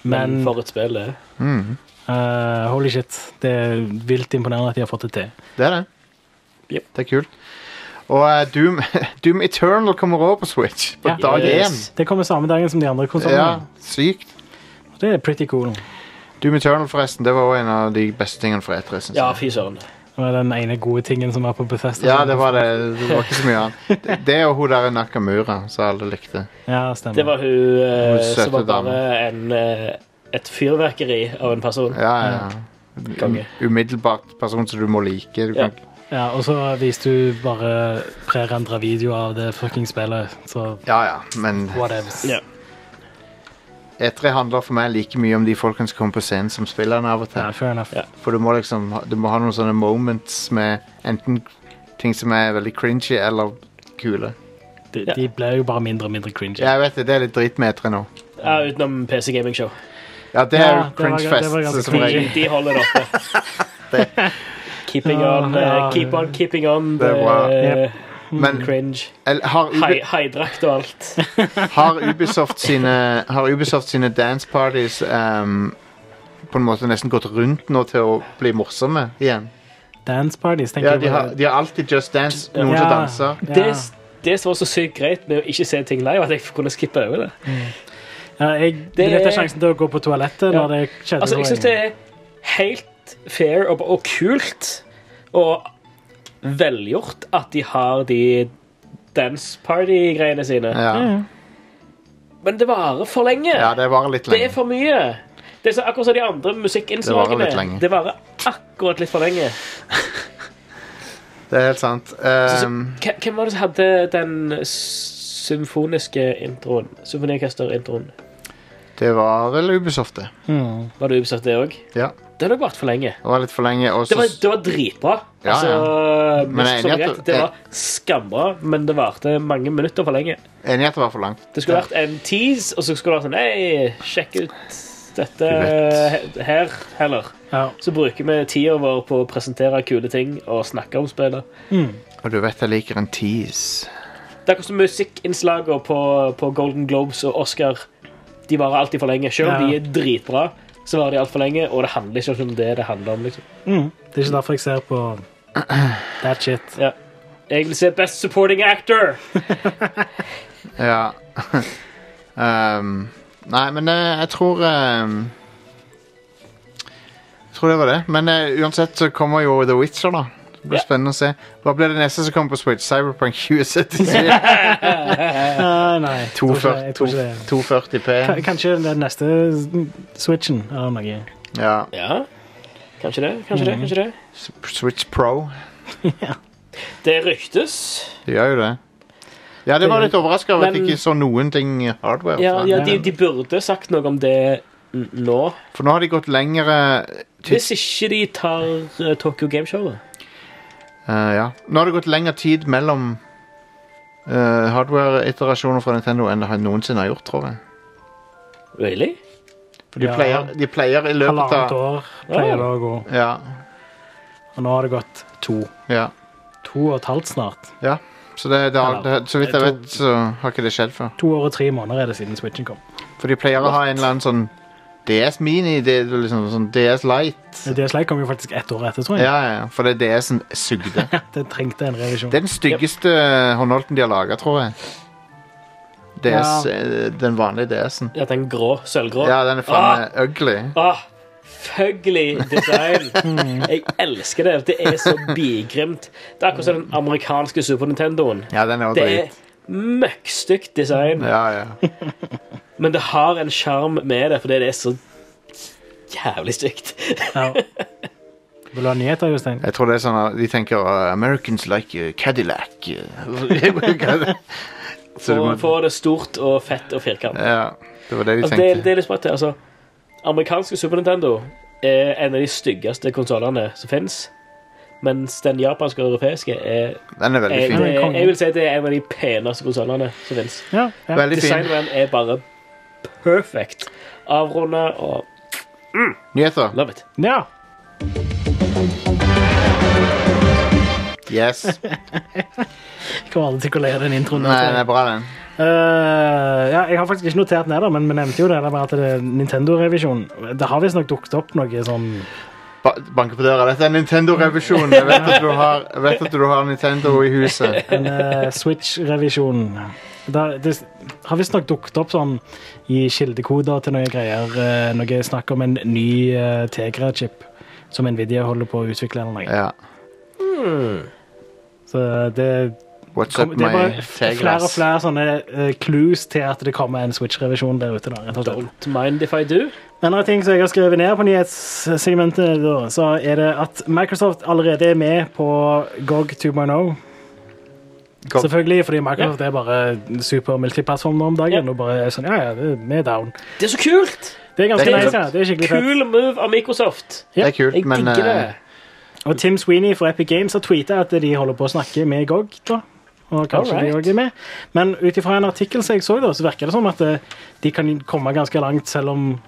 [SPEAKER 2] Men,
[SPEAKER 3] Men
[SPEAKER 2] for et spill, det.
[SPEAKER 1] Mhm.
[SPEAKER 3] eh, holy shit, det er vilt imponerende at de har fått det til.
[SPEAKER 1] Det er det.
[SPEAKER 2] Jep.
[SPEAKER 1] Det er kult. Og eh, Doom, Doom Eternal kommer over på Switch på
[SPEAKER 3] Ja.
[SPEAKER 1] dag én.
[SPEAKER 2] Yes.
[SPEAKER 3] Det kommer samme dagen som de andre
[SPEAKER 1] Ja,
[SPEAKER 3] konsollene.
[SPEAKER 1] sykt.
[SPEAKER 3] Det er pretty cool.
[SPEAKER 1] Doom Eternal, forresten, det var også en av de beste tingene fra E3. synes
[SPEAKER 2] Ja,
[SPEAKER 1] jeg.
[SPEAKER 2] fy søren.
[SPEAKER 3] Det var den ene gode tingen som var på Bethesda.
[SPEAKER 1] Ja, det var det. Det var ikke så mye annet. Det- Det og hun der Nakamura, som alle likte.
[SPEAKER 3] Ja, stemmer.
[SPEAKER 2] Det var hun eh,
[SPEAKER 1] Hun søte
[SPEAKER 2] som var bare
[SPEAKER 1] dame.
[SPEAKER 2] en, eh, et fyrverkeri av en person.
[SPEAKER 1] Ja, ja.
[SPEAKER 2] Konge.
[SPEAKER 1] Um- Umiddelbart person som du må like. Du
[SPEAKER 2] Ja.
[SPEAKER 1] kan
[SPEAKER 3] Ja, og så viste du bare prerendra videoer av det fucking spillet, så
[SPEAKER 1] Ja, ja, men
[SPEAKER 3] whatevs.
[SPEAKER 2] Ja.
[SPEAKER 1] E3 handler for meg like mye om de folkene som kommer på scenen som spillerne av og
[SPEAKER 3] Ja,
[SPEAKER 1] til.
[SPEAKER 3] fair enough.
[SPEAKER 2] Ja.
[SPEAKER 1] For du må liksom ha- du må ha noen sånne moments med enten ting som er veldig cringy eller kule.
[SPEAKER 3] De,
[SPEAKER 2] Ja.
[SPEAKER 3] de ble jo bare mindre og mindre cringe.
[SPEAKER 1] Ja, jeg vet det, det er litt drit med E3 nå.
[SPEAKER 2] Ja, utenom PC Gaming Show.
[SPEAKER 1] Ja, det er
[SPEAKER 3] Ja,
[SPEAKER 1] jo
[SPEAKER 3] det var- det var ganske
[SPEAKER 1] cringe-fest. som
[SPEAKER 3] cringy.
[SPEAKER 1] regel.
[SPEAKER 2] De, de holder det oppe. keeping on, eh,
[SPEAKER 3] Ja.
[SPEAKER 2] keep on, keeping on.
[SPEAKER 1] Ah, Det er bra.
[SPEAKER 2] eh,
[SPEAKER 1] Men
[SPEAKER 2] Cringe.
[SPEAKER 1] el- har,
[SPEAKER 2] Hai-
[SPEAKER 1] Ubi,
[SPEAKER 2] Haidrakt og alt.
[SPEAKER 1] har Ubisoft sine, har Ubisoft sine dance parties ehm, på en måte nesten gått rundt nå til å bli morsomme igjen?
[SPEAKER 3] Dance parties, tenker
[SPEAKER 1] Ja,
[SPEAKER 3] jeg.
[SPEAKER 1] de har,
[SPEAKER 3] bare-
[SPEAKER 1] de har alltid Just Dance, noen
[SPEAKER 3] Ja.
[SPEAKER 1] som danser.
[SPEAKER 3] Ja.
[SPEAKER 2] Det, det som var så sykt greit med å ikke se ting live, at jeg kunne skippe over det.
[SPEAKER 3] Ja, jeg
[SPEAKER 2] Det-
[SPEAKER 3] benytter sjansen til å gå på toalettet
[SPEAKER 2] Ja.
[SPEAKER 3] når det skjedde.
[SPEAKER 2] Altså, jeg syns det er helt fair og, og kult og velgjort at de har de dance party-greiene sine.
[SPEAKER 1] Ja.
[SPEAKER 2] Men det varer for lenge.
[SPEAKER 1] ja, det varer litt
[SPEAKER 2] Det er
[SPEAKER 1] lenge.
[SPEAKER 2] for mye. Det er så akkurat som de andre
[SPEAKER 1] Det varer
[SPEAKER 2] musikkinnslagene.
[SPEAKER 1] litt lenge.
[SPEAKER 2] Det varer akkurat litt for lenge.
[SPEAKER 1] Det er helt sant. Ehm,
[SPEAKER 2] K- Hvem var det som hadde den s- symfoniske introen? Symfoniorkester-introen.
[SPEAKER 1] det var vel Ubisoft, det.
[SPEAKER 3] Mm.
[SPEAKER 2] Var det ubesatt, det òg?
[SPEAKER 1] Ja,
[SPEAKER 2] Det har nok vart for lenge.
[SPEAKER 1] det var litt for lenge. Og
[SPEAKER 2] Det var,
[SPEAKER 1] så
[SPEAKER 2] det var dritbra.
[SPEAKER 1] Ja,
[SPEAKER 2] altså,
[SPEAKER 1] Men jeg er
[SPEAKER 2] mest som
[SPEAKER 1] enig i at
[SPEAKER 2] rett,
[SPEAKER 1] du-
[SPEAKER 2] det var skambra, men det varte mange minutter for lenge.
[SPEAKER 1] enig i at det var for langt.
[SPEAKER 2] Det skulle vært en tease, og så skulle det vært sånn Hei, sjekk ut dette
[SPEAKER 1] Du
[SPEAKER 2] he- her heller.
[SPEAKER 3] Ja.
[SPEAKER 2] Så bruker vi tida vår på å presentere kule ting og snakke om spillet.
[SPEAKER 1] Og du vet jeg liker en tease.
[SPEAKER 2] Det er akkurat som musikkinnslagene på, på Golden Globes og Oscar. De varer alltid for lenge. Selv om de
[SPEAKER 3] Ja.
[SPEAKER 2] er dritbra, så varer de altfor lenge. Og det handler ikke om det det handler om. liksom.
[SPEAKER 3] Mm. Det er ikke derfor jeg ser på that shit.
[SPEAKER 2] Ja. Jeg vil se Best Supporting Actor.
[SPEAKER 1] Ja. Ehm, nei, men eh, jeg tror ehm, Jeg tror det var det. Men eh, uansett så kommer jo The Witcher, da. Det blir spennende å se. Hva blir det neste som kommer på Switch? Cyberpunk 2077?
[SPEAKER 3] Eh, nei, jeg tror ikke- jeg tror ikke det.
[SPEAKER 1] 240P.
[SPEAKER 3] K- Kanskje den neste switchen eller noe.
[SPEAKER 1] Ja.
[SPEAKER 2] Ja. Kanskje det, kanskje
[SPEAKER 1] Mm.
[SPEAKER 2] det. kanskje det.
[SPEAKER 1] S- Switch Pro.
[SPEAKER 2] Det ryktes.
[SPEAKER 1] Det gjør jo det. Ja, det var litt overraska over at jeg
[SPEAKER 2] Men-
[SPEAKER 1] ikke så noen ting hardware.
[SPEAKER 2] Ja,
[SPEAKER 1] fra
[SPEAKER 2] ja
[SPEAKER 1] den.
[SPEAKER 2] de, de burde sagt noe om det n- nå.
[SPEAKER 1] For nå har de gått lengre tid,
[SPEAKER 2] Hvis ikke de tar eh, Tokyo Gameshow, da.
[SPEAKER 1] eh, ja. Nå har det gått lengre tid mellom eh, hardware-iterasjoner fra Nintendo enn det har- noensinne har gjort, tror jeg.
[SPEAKER 2] Really?
[SPEAKER 1] For de, pleier, de pleier i løpet
[SPEAKER 3] Halvannet
[SPEAKER 1] av
[SPEAKER 3] år pleier det å gå.
[SPEAKER 1] ja,
[SPEAKER 3] Og nå har det gått to.
[SPEAKER 1] ja,
[SPEAKER 3] To og et halvt snart.
[SPEAKER 1] ja. Så, det, det har,
[SPEAKER 3] Eller,
[SPEAKER 1] det, så vidt jeg
[SPEAKER 3] jeg
[SPEAKER 1] vet, så har ikke det skjedd før.
[SPEAKER 3] To år og tre måneder er det siden switchen kom.
[SPEAKER 1] For de pleier å ha en eller annen sånn DS Mini, det, er liksom sånn DS Light.
[SPEAKER 3] DS Lite kom jo faktisk ett år etter, tror jeg.
[SPEAKER 1] Ja, ja, ja, for det DS-en sugde.
[SPEAKER 3] Det trengte en revisjon.
[SPEAKER 1] Det er den styggeste håndholten de har laga, tror jeg. DS, eh, Den vanlige DS-en.
[SPEAKER 2] Ja, den grå, sølvgrå.
[SPEAKER 1] Ja, den er faen meg ugly.
[SPEAKER 2] Ah, fugly design.
[SPEAKER 1] Hmm.
[SPEAKER 2] Jeg elsker det. Det er så bigrimt. Det er akkurat som den amerikanske Super Nintendoen.
[SPEAKER 1] Ja, den er jo
[SPEAKER 2] Det
[SPEAKER 1] drit.
[SPEAKER 2] er møkkstygt design,
[SPEAKER 1] Ja, ja.
[SPEAKER 2] men det har en sjarm med det, fordi det er så jævlig stygt.
[SPEAKER 3] Ja. Vil du ha nyheter, Jostein?
[SPEAKER 1] Jeg tror det er sånn at de tenker uh, Americans like uh, Cadillac. uh." Så du
[SPEAKER 2] Få
[SPEAKER 1] må,
[SPEAKER 2] få det stort og fett og firkant.
[SPEAKER 1] ja, det var det de
[SPEAKER 2] Altså, det, det
[SPEAKER 1] tenkte.
[SPEAKER 2] er litt sprøtt. det, Altså, amerikanske Super Nintendo er en av de styggeste konsollene som fins. Mens den japanske og europeiske er
[SPEAKER 1] Den er veldig
[SPEAKER 2] jeg,
[SPEAKER 1] fin.
[SPEAKER 3] det- Eh,
[SPEAKER 2] jeg, jeg vil si det er en av de peneste konsollene som fins.
[SPEAKER 3] Ja, ja.
[SPEAKER 1] Veldig fin.
[SPEAKER 2] Designeren er bare perfect. Avrunda og
[SPEAKER 1] Nyheter.
[SPEAKER 2] love it.
[SPEAKER 3] ja.
[SPEAKER 1] Yes.
[SPEAKER 3] Kommer aldri til å kolere den introen. altså.
[SPEAKER 1] Nei, den er bra, den.
[SPEAKER 3] Eh, ja, jeg har faktisk ikke notert ned, det, men vi nevnte jo det der med at det er Nintendo-revisjon. Det har visstnok dukket opp noe sånn
[SPEAKER 1] Ba banker på døra. Dette er Nintendo-revisjon. Jeg vet at du har, jeg vet at du har Nintendo i huset.
[SPEAKER 3] en eh, Switch-revisjon. Da- Det s- har visstnok dukket opp sånn i kildekoder til noen greier. eh, Noe snakk om en ny eh, Tegra-chip som Nvidia holder på å utvikle. eller noe.
[SPEAKER 1] Ja.
[SPEAKER 2] Hmm.
[SPEAKER 3] Så det,
[SPEAKER 1] What's up,
[SPEAKER 3] kom, det er
[SPEAKER 1] my
[SPEAKER 3] bare f- flere og
[SPEAKER 1] tegras?
[SPEAKER 3] flere sånne eh, clues til at det kommer en Switch-revisjon der ute. da, rett og slett.
[SPEAKER 2] Don't mind if I do.
[SPEAKER 3] En annen ting som jeg har skrevet ned på nyhetssegmentet, da, så er det at Microsoft allerede er med på GOG 2.0.
[SPEAKER 1] GOG.
[SPEAKER 3] Selvfølgelig, fordi Microsoft er bare super multiplattform nå om dagen.
[SPEAKER 2] Ja.
[SPEAKER 3] og bare er sånn, ja, ja, det- vi er down.
[SPEAKER 2] Det er så kult!
[SPEAKER 3] Det er ganske
[SPEAKER 1] Det er
[SPEAKER 3] nice,
[SPEAKER 1] kult.
[SPEAKER 3] ja. Det er skikkelig fett.
[SPEAKER 2] Kul move av Microsoft.
[SPEAKER 1] Det er kult,
[SPEAKER 2] Jeg
[SPEAKER 1] men
[SPEAKER 2] digger
[SPEAKER 1] eh,
[SPEAKER 2] det.
[SPEAKER 3] Og Tim Sweeney fra Epic Games har tweeta at de holder på å snakke med GOG. da. Og kanskje de
[SPEAKER 2] Alright.
[SPEAKER 3] også er med. Men ut ifra en artikkel som jeg så, da, så virker det som at eh, de kan komme ganske langt selv om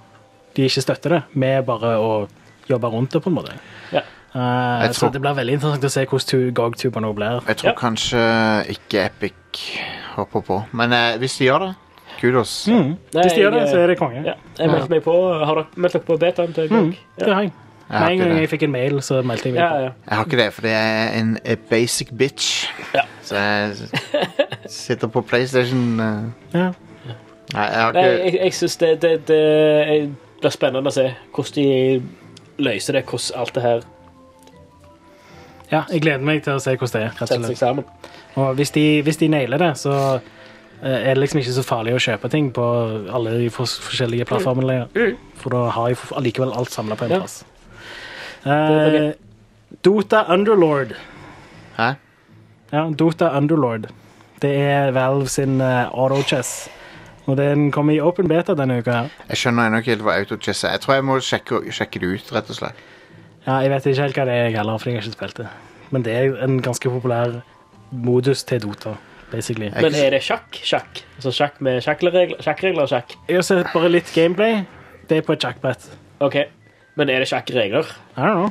[SPEAKER 3] de ikke støtter det, med bare å jobbe rundt det, på en måte.
[SPEAKER 2] Ja.
[SPEAKER 3] Eh,
[SPEAKER 1] Jeg
[SPEAKER 3] så
[SPEAKER 1] tror-
[SPEAKER 3] det blir veldig interessant å se hvordan tu- GOG 2.0 blir.
[SPEAKER 1] Jeg tror
[SPEAKER 2] Ja.
[SPEAKER 1] kanskje ikke Epic hopper på, men eh, hvis de gjør det, kudos.
[SPEAKER 3] Mm. Hvis de gjør det,
[SPEAKER 2] jeg,
[SPEAKER 3] så er det konge.
[SPEAKER 2] Ja, Hmm. jeg meldte meg på. Har dere meldt dere på betaen til GOG?
[SPEAKER 3] Mm. Det har jeg.
[SPEAKER 1] Jeg har
[SPEAKER 3] Med en
[SPEAKER 1] ikke
[SPEAKER 3] gang
[SPEAKER 1] det.
[SPEAKER 3] jeg fikk en mail, så meldte jeg meg
[SPEAKER 2] Ja,
[SPEAKER 3] på.
[SPEAKER 2] ja.
[SPEAKER 1] Jeg har ikke det, for det er en a basic bitch.
[SPEAKER 2] Ja.
[SPEAKER 1] Så jeg s- sitter på PlayStation eh,
[SPEAKER 3] Ja.
[SPEAKER 1] Nei, jeg har
[SPEAKER 2] Nei,
[SPEAKER 1] ikke
[SPEAKER 2] jeg, jeg synes det, det, det jeg- det blir spennende å se hvordan de løser det, hvordan alt det her
[SPEAKER 3] Ja, jeg gleder meg til å se hvordan det er. rett og
[SPEAKER 2] setter seg
[SPEAKER 3] slett.
[SPEAKER 2] sammen.
[SPEAKER 3] Og hvis de, hvis de nailer det, så eh, er det liksom ikke så farlig å kjøpe ting på alle de fors- forskjellige plattformene lenger. For da har jeg f- allikevel alt samla på en
[SPEAKER 2] Ja.
[SPEAKER 3] plass. Eh, Dota Underlord.
[SPEAKER 1] Hæ?
[SPEAKER 3] Ja, Dota Underlord. Det er Valve sin eh, auto-chess. Og den kommer i open beta denne uka. her.
[SPEAKER 1] Jeg skjønner ennå ikke helt hva autochess er. Jeg tror jeg må sjekke, sjekke det ut, rett og slett.
[SPEAKER 3] Ja, jeg vet ikke helt hva det er jeg heller, fordi jeg har ikke spilt det. Men det er en ganske populær modus til Dota, basically.
[SPEAKER 1] Jeg,
[SPEAKER 2] Men er det sjakk? Sjakk Altså sjakk med sjakkregler sjakkregler og sjakk?
[SPEAKER 3] Jeg har sett bare litt gameplay. Det er på et sjakkbrett.
[SPEAKER 2] OK. Men er det sjakkregler?
[SPEAKER 3] I don't know.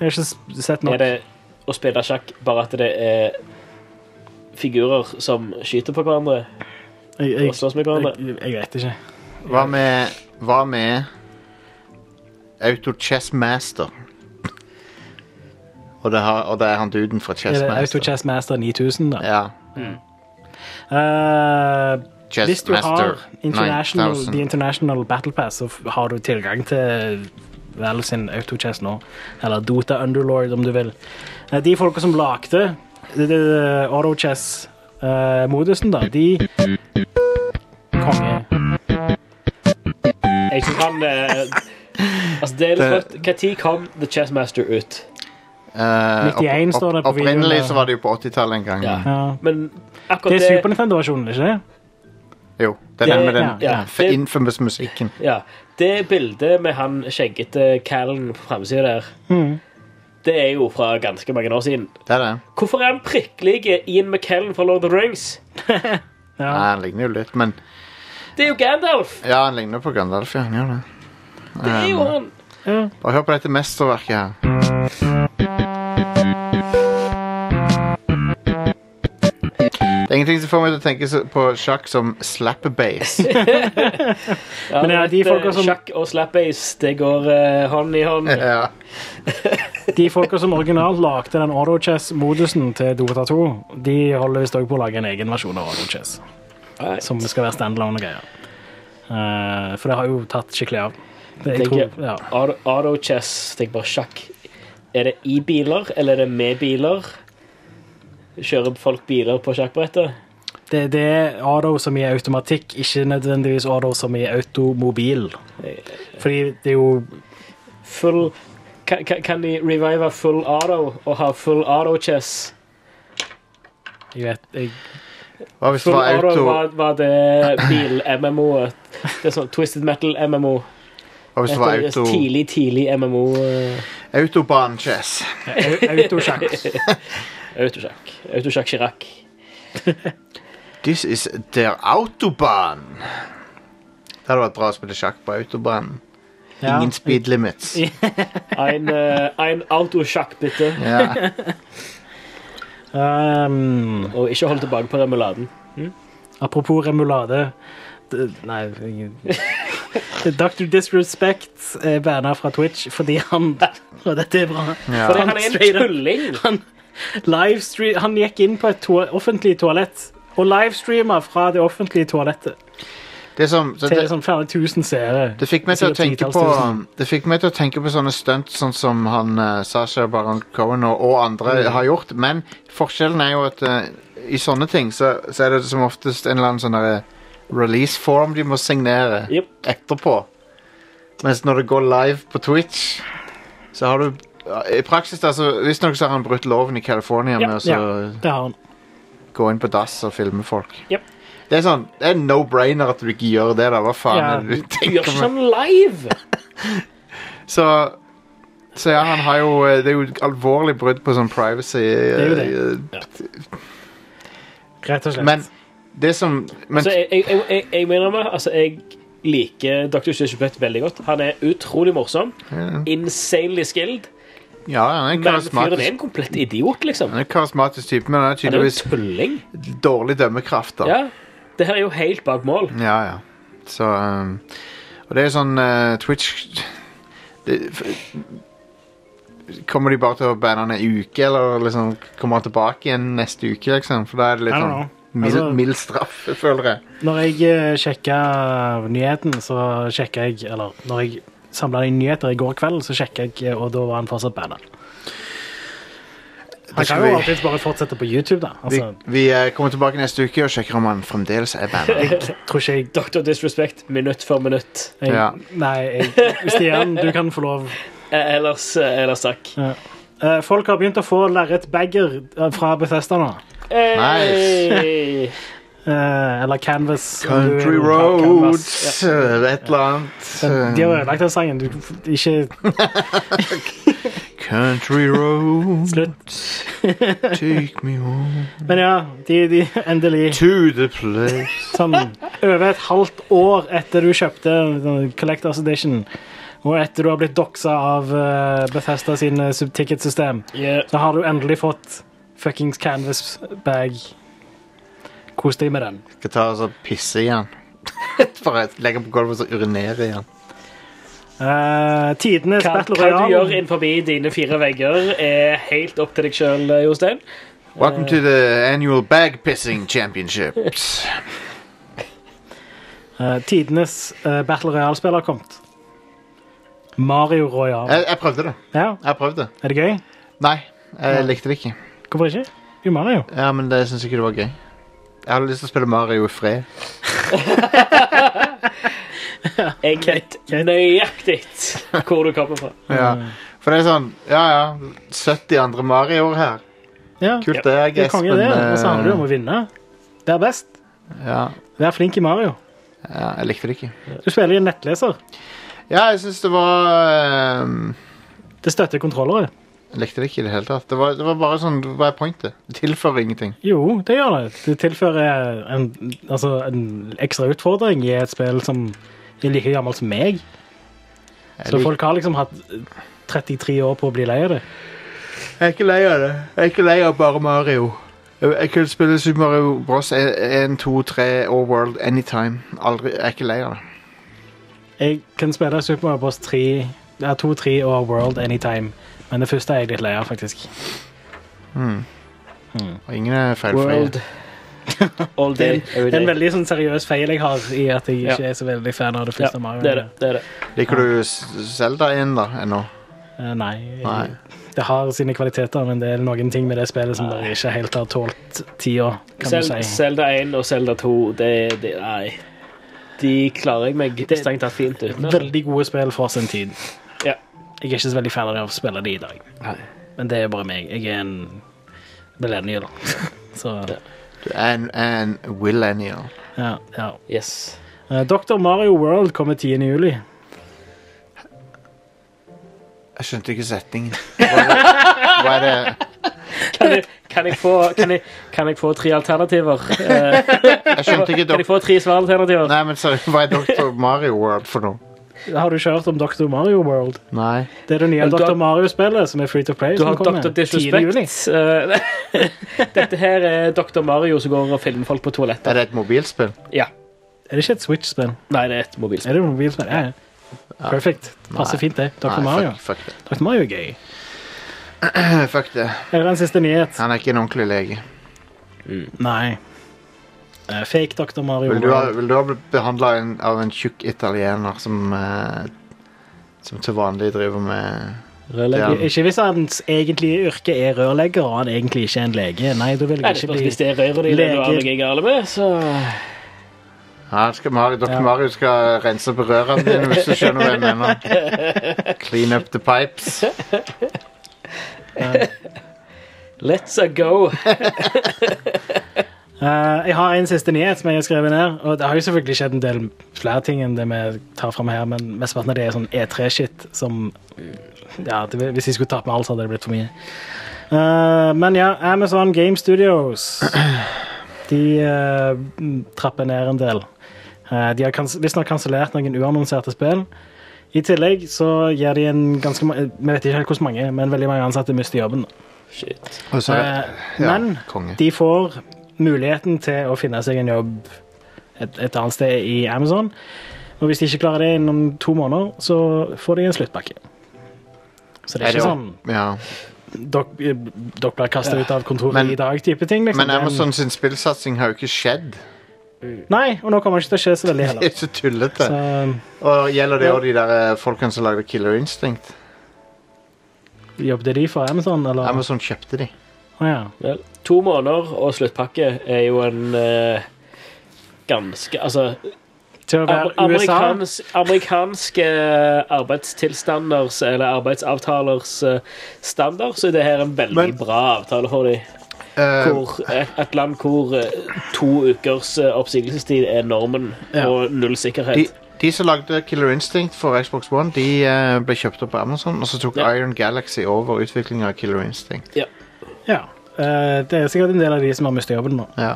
[SPEAKER 3] Jeg har ikke s- sett nok.
[SPEAKER 2] Er det å spille sjakk bare at det er figurer som skyter på hverandre
[SPEAKER 3] jeg, jeg,
[SPEAKER 2] og slåss med hverandre?
[SPEAKER 3] jeg, jeg vet ikke. eh,
[SPEAKER 1] hva med Hva med autochess master? Og det, har, og det er han duden fra
[SPEAKER 3] Er
[SPEAKER 1] Chess
[SPEAKER 3] det
[SPEAKER 1] Master.
[SPEAKER 3] AutoChess Master 9000, da?
[SPEAKER 1] Ja.
[SPEAKER 3] Eh,
[SPEAKER 1] Chess
[SPEAKER 3] hvis du
[SPEAKER 1] Master
[SPEAKER 3] har international,
[SPEAKER 1] 9000.
[SPEAKER 3] The International Battle Pass, så f- har du tilgang til Valve sin autochess nå. Eller Dota Underlord, om du vil. Eh, De folka som lagde eh, det- det- autochess-modusen, da, de Konge.
[SPEAKER 2] Jeg synes han eh, Altså, det er litt rått. Når kom The Chessmaster ut?
[SPEAKER 1] Eh,
[SPEAKER 3] 91 står det på videoen
[SPEAKER 1] opprinnelig
[SPEAKER 3] der.
[SPEAKER 1] så var det jo på 80-tallet en gang.
[SPEAKER 2] Ja.
[SPEAKER 3] Ja.
[SPEAKER 2] Men
[SPEAKER 3] Det
[SPEAKER 2] akkurat
[SPEAKER 3] er Super Nintendo-versjonen, ikke det?
[SPEAKER 1] Jo, det er
[SPEAKER 2] Det-
[SPEAKER 1] den med den
[SPEAKER 2] ja, ja.
[SPEAKER 1] f- infamous musikken.
[SPEAKER 2] Ja, det bildet med han skjeggete Callen på framsida der,
[SPEAKER 3] Mm.
[SPEAKER 2] det er jo fra ganske mange år siden.
[SPEAKER 1] Det er det.
[SPEAKER 2] Hvorfor er han prikklig Ian McKellen fra Lord of the Rings?
[SPEAKER 1] Ja,
[SPEAKER 3] Ja.
[SPEAKER 1] han ligner jo litt, men
[SPEAKER 2] Det er jo Gandalf!
[SPEAKER 1] Ja, han ligner på Gandalf, ja. Han gjør det.
[SPEAKER 2] Det er jo han!
[SPEAKER 3] Ja.
[SPEAKER 1] Bare hør på dette mesterverket her. Det er ingenting som får meg til å tenke så- på sjakk som slap bass.
[SPEAKER 2] Ja,
[SPEAKER 3] Men ja, de
[SPEAKER 2] det er eh,
[SPEAKER 3] folka som-
[SPEAKER 2] Sjakk og slapbase, det går eh, hånd i hånd.
[SPEAKER 1] ja.
[SPEAKER 3] De folka som originalt lagde den autochess-modusen til Dota 2, de holder visst òg på å lage en egen versjon av autochess.
[SPEAKER 2] Right.
[SPEAKER 3] Som skal være standalone greier. Eh, for det har jo tatt skikkelig av. Det, jeg tror,
[SPEAKER 2] Tenker-
[SPEAKER 3] ja.
[SPEAKER 2] Auto- Auto-chess, tenk bare sjakk. Er det i biler, eller er det med biler? Kjører folk biler på sjakkbrettet?
[SPEAKER 3] det, det er auto som i automatikk, ikke nødvendigvis auto som i automobil. Fordi det er jo
[SPEAKER 2] Full kan, kan, kan de revive full auto og ha full auto-chess?
[SPEAKER 3] jeg vet, jeg,
[SPEAKER 1] Hva hvis det
[SPEAKER 2] Full
[SPEAKER 1] var
[SPEAKER 2] auto
[SPEAKER 1] auto,
[SPEAKER 2] var, var det bil-MMO-et. Det er sånn Twisted Metal-MMO.
[SPEAKER 1] hva hvis det var auto,
[SPEAKER 2] Tidlig, tidlig MMO. eh,
[SPEAKER 1] autobahn-chess?
[SPEAKER 3] au- Autosjakk.
[SPEAKER 2] Autosjakk. Autosjakk Chirac.
[SPEAKER 1] This is their autobahn. Det hadde vært bra å spille sjakk på autobanen.
[SPEAKER 3] Ja.
[SPEAKER 1] Ingen speed limits.
[SPEAKER 2] Ein, eh, ein autosjakk, bitte.
[SPEAKER 1] Ja.
[SPEAKER 3] Um,
[SPEAKER 2] Og ikke hold tilbake på remuladen.
[SPEAKER 3] apropos remulade D- Nei jeg- Dr. Disrespect er banna fra Twitch fordi han Og dette er bra.
[SPEAKER 1] Ja.
[SPEAKER 2] Fordi han er
[SPEAKER 3] Straight
[SPEAKER 2] en
[SPEAKER 3] up.
[SPEAKER 2] tulling.
[SPEAKER 3] Livestre- han gikk inn på et toa- offentlig toalett og livestreama fra det offentlige toalettet
[SPEAKER 1] Det, som, så
[SPEAKER 3] til
[SPEAKER 1] det,
[SPEAKER 3] sånn flere tusen seere.
[SPEAKER 1] det fikk meg til å
[SPEAKER 3] Sikkert
[SPEAKER 1] tenke på
[SPEAKER 3] titalls tusen.
[SPEAKER 1] Det fikk meg til å tenke på sånne stunt sånn som han eh, Sasha Baron Cohen og, og andre
[SPEAKER 3] Mm.
[SPEAKER 1] har gjort, men forskjellen er jo at eh, i sånne ting så, så er det som oftest en eller annen sånn derre release form de må signere
[SPEAKER 2] Jep.
[SPEAKER 1] etterpå. Mens når det går live på Twitch, så har du I praksis, altså, visstnok så har han brutt loven i California med å så
[SPEAKER 3] ja, det har han.
[SPEAKER 1] gå inn på dass og filme folk.
[SPEAKER 2] Jep.
[SPEAKER 1] Det er sånn, det er en no-brainer at du ikke gjør det. da, Hva faen
[SPEAKER 3] Ja.
[SPEAKER 1] er det du
[SPEAKER 2] Du gjør
[SPEAKER 1] tenker
[SPEAKER 2] ikke
[SPEAKER 1] med?
[SPEAKER 2] sånn live!
[SPEAKER 1] Så, så ja, han har jo eh, Det er jo et alvorlig brudd på sånn privacy.
[SPEAKER 3] er jo
[SPEAKER 1] eh,
[SPEAKER 3] Rett og slett.
[SPEAKER 1] Men det som men,
[SPEAKER 2] Så jeg, jeg, jeg, jeg, jeg mener meg, altså jeg liker Dr. Stjøskjøpet veldig godt. Han er utrolig morsom. Insanely skilled.
[SPEAKER 1] Ja, han er en
[SPEAKER 2] Men fyren er
[SPEAKER 1] karismatisk,
[SPEAKER 2] en komplett idiot, liksom.
[SPEAKER 1] han er en karismatisk type, men han er
[SPEAKER 2] Han er jo
[SPEAKER 1] tydeligvis
[SPEAKER 2] en tulling.
[SPEAKER 1] dårlig dømmekraft. da.
[SPEAKER 2] Ja. Det her er jo helt bak mål.
[SPEAKER 1] Ja, ja. Så um, Og det er jo sånn eh, Twitch det, f- Kommer de bare til å banne han en uke, eller liksom kommer han tilbake igjen neste uke, liksom? For da er det
[SPEAKER 3] I
[SPEAKER 1] litt
[SPEAKER 3] don't
[SPEAKER 1] sånn
[SPEAKER 3] know.
[SPEAKER 1] mild,
[SPEAKER 3] Altså-
[SPEAKER 1] mild straff, føler jeg.
[SPEAKER 3] Når jeg sjekka nyheten, så sjekka jeg Eller når jeg samla inn nyheter i går kveld, så sjekka jeg, eh, og da var han fortsatt banna. Han
[SPEAKER 1] skal
[SPEAKER 3] kan jo
[SPEAKER 1] vi-
[SPEAKER 3] alltids bare fortsette på YouTube, da.
[SPEAKER 1] Vi,
[SPEAKER 3] Altså,
[SPEAKER 1] vi eh, kommer tilbake neste uke og sjekker om han fremdeles er banna.
[SPEAKER 3] tror ikke jeg,
[SPEAKER 2] Dr. Disrespect minutt for minutt.
[SPEAKER 3] jeg
[SPEAKER 1] Ja.
[SPEAKER 3] Nei, jeg, Stian, du kan få lov.
[SPEAKER 2] Eh, Ellers, eh, ellers takk.
[SPEAKER 3] Eh, folk har begynt å få lerretbager eh, fra Bethesda nå.
[SPEAKER 2] Hey!
[SPEAKER 3] Eh, eller Canvas. om du
[SPEAKER 1] Country
[SPEAKER 3] vil. Ca- Canvas.
[SPEAKER 1] Roads, eh, et eller annet.
[SPEAKER 3] Den- De har
[SPEAKER 1] eh,
[SPEAKER 3] ødelagt den sangen. Du, ikke
[SPEAKER 1] Country roads,
[SPEAKER 3] slutt.
[SPEAKER 1] take me home
[SPEAKER 3] Men ja, de, de endelig
[SPEAKER 1] to the place.
[SPEAKER 3] sånn over et halvt år etter du kjøpte sånn, Collectors Edition, og etter du har blitt doxa av eh, Bethesda sin eh, subticket-system,
[SPEAKER 2] Ja.
[SPEAKER 3] så har du endelig fått fuckings canvas bag. Kos deg med den.
[SPEAKER 1] Skal ta oss og pisse i han. Bare legge på gulvet og så urinere i han.
[SPEAKER 3] Eh, tidenes
[SPEAKER 2] Hva,
[SPEAKER 3] Battle
[SPEAKER 2] hva du gjør
[SPEAKER 3] Royale.
[SPEAKER 2] innenfor dine fire vegger, er helt opp til deg sjøl, Jostein.
[SPEAKER 1] Welcome to the annual bag pissing championships.
[SPEAKER 3] Eh, tidenes eh, Battle Royale-spill har kommet. Mario Royal.
[SPEAKER 1] Jeg, jeg prøvde det.
[SPEAKER 3] Ja,
[SPEAKER 1] Jeg prøvde.
[SPEAKER 3] Er det gøy?
[SPEAKER 1] Nei, jeg likte det ikke.
[SPEAKER 3] Hvorfor ikke? Jo, Mario.
[SPEAKER 1] Ja, Men det syns ikke det var gøy. Jeg hadde lyst til å spille Mario i fred.
[SPEAKER 2] Jeg vet nøyaktig hvor du kommer fra.
[SPEAKER 1] Ja. For det er sånn Ja ja, 70 andre Marioer her.
[SPEAKER 3] Ja,
[SPEAKER 1] Kult det, jeg,
[SPEAKER 3] det er konge,
[SPEAKER 1] men,
[SPEAKER 3] det. Og så handler det om
[SPEAKER 1] eh,
[SPEAKER 3] å vinne. Det er best.
[SPEAKER 1] ja,
[SPEAKER 3] Vær flink i Mario.
[SPEAKER 1] ja, jeg likte det ikke.
[SPEAKER 3] Du spiller i en nettleser.
[SPEAKER 1] Ja, jeg syns det var ehm,
[SPEAKER 3] Det støtter kontrollere.
[SPEAKER 1] Jeg likte det ikke i det hele tatt. Det var, det var bare sånn Hva er pointet? Det tilfører ingenting.
[SPEAKER 3] Jo, det gjør det. Det tilfører en, altså, en ekstra utfordring i et spill som er like gammelt som meg.
[SPEAKER 1] Jeg,
[SPEAKER 3] Så
[SPEAKER 1] lik-
[SPEAKER 3] folk har liksom hatt 33 år på å bli lei av det.
[SPEAKER 1] jeg er ikke lei av det. Jeg er ikke lei av bare Mario. Jeg, jeg kunne spille Super Mario Bros. 1, 2, 3 og World anytime. Aldri, jeg er ikke lei av det.
[SPEAKER 3] Jeg kan spille Super Mario Bros. 3, ja, 2, 3 og World anytime, men det første er jeg litt lei av, faktisk.
[SPEAKER 1] Mm.
[SPEAKER 2] Hmm.
[SPEAKER 3] Mm.
[SPEAKER 1] Og ingen er feilfrie.
[SPEAKER 2] World. All day, every
[SPEAKER 3] Det er en
[SPEAKER 2] day.
[SPEAKER 3] veldig sånn seriøs feil jeg har i at jeg ikke er så veldig fan av det
[SPEAKER 2] Ja,
[SPEAKER 3] første Mario.
[SPEAKER 2] det er det. det, er det.
[SPEAKER 1] Liker du Selda 1 da, ennå?
[SPEAKER 3] Eh, Nei,
[SPEAKER 1] Nei.
[SPEAKER 3] Det har sine kvaliteter, men det er noen ting med det spillet som
[SPEAKER 2] Nei.
[SPEAKER 3] bare ikke helt har tålt tida, kan
[SPEAKER 2] Sel-
[SPEAKER 3] du si.
[SPEAKER 2] Zelda 1 og Zelda 2, det, det Nei. De klarer jeg meg strengt tatt fint uten. altså.
[SPEAKER 3] Veldig gode spill for sin tid.
[SPEAKER 2] Ja.
[SPEAKER 3] Jeg er ikke så veldig fan av det å spille de i dag,
[SPEAKER 2] Nei.
[SPEAKER 3] men det er bare meg. Jeg er en millennial. så
[SPEAKER 1] Du er en, er en Willennial.
[SPEAKER 3] ja, ja.
[SPEAKER 2] Yes.
[SPEAKER 3] Eh, Dr. Mario World kommer 10. juli.
[SPEAKER 1] Jeg skjønte ikke setningen. Hva er det? Hva er det?
[SPEAKER 2] Kan jeg, kan jeg, få, kan jeg, kan jeg få tre alternativer? Eh,
[SPEAKER 1] Jeg skjønte ikke
[SPEAKER 2] Kan jeg
[SPEAKER 1] dok
[SPEAKER 2] få tre svaralternativer?
[SPEAKER 1] Nei, men sorry, Hva er Dr. Mario World for noe?
[SPEAKER 3] Har du ikke hørt om Dr. Mario World?
[SPEAKER 1] Nei.
[SPEAKER 3] Det er det nye
[SPEAKER 2] Men du
[SPEAKER 3] Dr.
[SPEAKER 2] har-
[SPEAKER 3] Mario-spillet som er free to play.
[SPEAKER 2] Du
[SPEAKER 3] som
[SPEAKER 2] har
[SPEAKER 3] kommer
[SPEAKER 2] Dr.
[SPEAKER 3] 10. juli.
[SPEAKER 2] Disrespect. Eh, Dette her er Dr. Mario som går og filmer folk på toalettet.
[SPEAKER 1] Er det et mobilspill?
[SPEAKER 2] Ja.
[SPEAKER 3] Er det ikke et Switch-spill?
[SPEAKER 2] Nei, det er et mobilspill.
[SPEAKER 3] Er det et mobilspill? Ja, ja. Perfekt. Passer
[SPEAKER 1] Nei.
[SPEAKER 3] fint, det. Dr.
[SPEAKER 1] Nei,
[SPEAKER 3] Mario.
[SPEAKER 1] Fuck, fuck det.
[SPEAKER 3] Dr. Mario er gøy.
[SPEAKER 1] Eh, Fuck det.
[SPEAKER 3] Her er en siste nyhet.
[SPEAKER 1] Han er ikke en ordentlig lege.
[SPEAKER 3] Nei. Eh, Fake Dr. Mario.
[SPEAKER 1] Hm. Vil du ha,
[SPEAKER 3] World.
[SPEAKER 1] vil du ha blitt behandla av en tjukk italiener som eh, Som til vanlig driver med
[SPEAKER 2] Rørlegger.
[SPEAKER 1] Ja.
[SPEAKER 3] Ikke hvis hans egentlige yrke er rørlegger og han egentlig ikke er en lege. Nei, da vil
[SPEAKER 2] Nei,
[SPEAKER 3] jeg
[SPEAKER 2] det
[SPEAKER 3] ikke
[SPEAKER 2] spørs
[SPEAKER 3] bli
[SPEAKER 2] hvis det er røret dine du
[SPEAKER 3] Leger.
[SPEAKER 2] har noe galt med, så
[SPEAKER 1] ja, skal Mario, Dr.
[SPEAKER 3] Ja.
[SPEAKER 1] Mario skal rense opp i rørene dine, hvis du skjønner hva jeg mener. Clean up the pipes.
[SPEAKER 2] Let's a go.
[SPEAKER 3] Eh, jeg har en siste nyhet som jeg har skrevet ned. Og det har jo selvfølgelig skjedd en del flere ting enn det vi tar frem her, men mesteparten av det er sånn E3-shit som Ja, det, hvis jeg skulle tatt med alt, så hadde det blitt for mye. Eh, men ja, Amazon Game Studios De eh, trapper ned en del. Eh, de har kans visstnok kansellert noen uannonserte spill. I tillegg så gir de en ganske ma- eh, Vi vet ikke helt hvordan mange, men veldig mange ansatte mister jobben.
[SPEAKER 2] Shit.
[SPEAKER 1] Og så,
[SPEAKER 3] Eh, men
[SPEAKER 1] konge.
[SPEAKER 3] de får muligheten til å finne seg en jobb et, et annet sted i Amazon. Og hvis de ikke klarer det innen to måneder, så får de en sluttpakke. Så det
[SPEAKER 1] Er det
[SPEAKER 3] er, ikke
[SPEAKER 1] jo-
[SPEAKER 3] sånn
[SPEAKER 1] ja.
[SPEAKER 3] dere dere blir kasta ut av kontoret
[SPEAKER 1] Men-
[SPEAKER 3] i dag, type ting. Liksom.
[SPEAKER 1] Men
[SPEAKER 3] Det er en-
[SPEAKER 1] Amazon sin spillsatsing har jo ikke skjedd.
[SPEAKER 3] Nei, og nå kommer det ikke til å skje så veldig
[SPEAKER 1] Det
[SPEAKER 3] heller.
[SPEAKER 1] er så tullete.
[SPEAKER 3] Så,
[SPEAKER 1] Og gjelder det òg de der eh, folkene som lagde Killer Instinct?
[SPEAKER 3] jobbet de for Amazon, eller?
[SPEAKER 1] Amazon sånn kjøpte de.
[SPEAKER 3] Å, ja.
[SPEAKER 2] Vel, to måneder og sluttpakke er jo en eh, ganske Altså
[SPEAKER 3] Til å
[SPEAKER 2] am-
[SPEAKER 3] være USA
[SPEAKER 2] amerikans, amerikanske eh, arbeidstilstanders eller arbeidsavtalers eh, standard, så er det her en veldig
[SPEAKER 1] Men-
[SPEAKER 2] bra avtale for dem.
[SPEAKER 1] Eh,
[SPEAKER 2] Hvor et, et land hvor eh, to ukers eh, oppsigelsestid er normen,
[SPEAKER 3] Ja.
[SPEAKER 2] og null
[SPEAKER 1] de,
[SPEAKER 2] sikkerhet.
[SPEAKER 1] de som lagde Killer Instinct for Xbox One, de eh, ble kjøpt opp på Amazon, og så tok
[SPEAKER 2] Ja.
[SPEAKER 1] Iron Galaxy over utviklinga av Killer Instinct.
[SPEAKER 2] Ja.
[SPEAKER 3] Ja. Eh, det er sikkert en del av de som har mistet jobben nå.
[SPEAKER 1] Ja.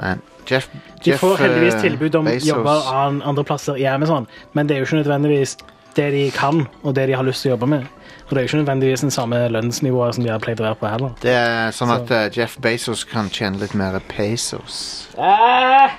[SPEAKER 1] Men Jeff,
[SPEAKER 3] De
[SPEAKER 1] Jeff,
[SPEAKER 3] får heldigvis
[SPEAKER 1] eh,
[SPEAKER 3] tilbud om
[SPEAKER 1] Bezos-
[SPEAKER 3] jobber an andre plasser i Amazon, men det er jo ikke nødvendigvis det de kan, og det de har lyst til å jobbe med. Og det er jo ikke nødvendigvis den samme lønnsnivået som de har pleid å være på heller.
[SPEAKER 1] Det er sånn at eh, Jeff Bezos kan tjene litt mer pesos.
[SPEAKER 2] Ah!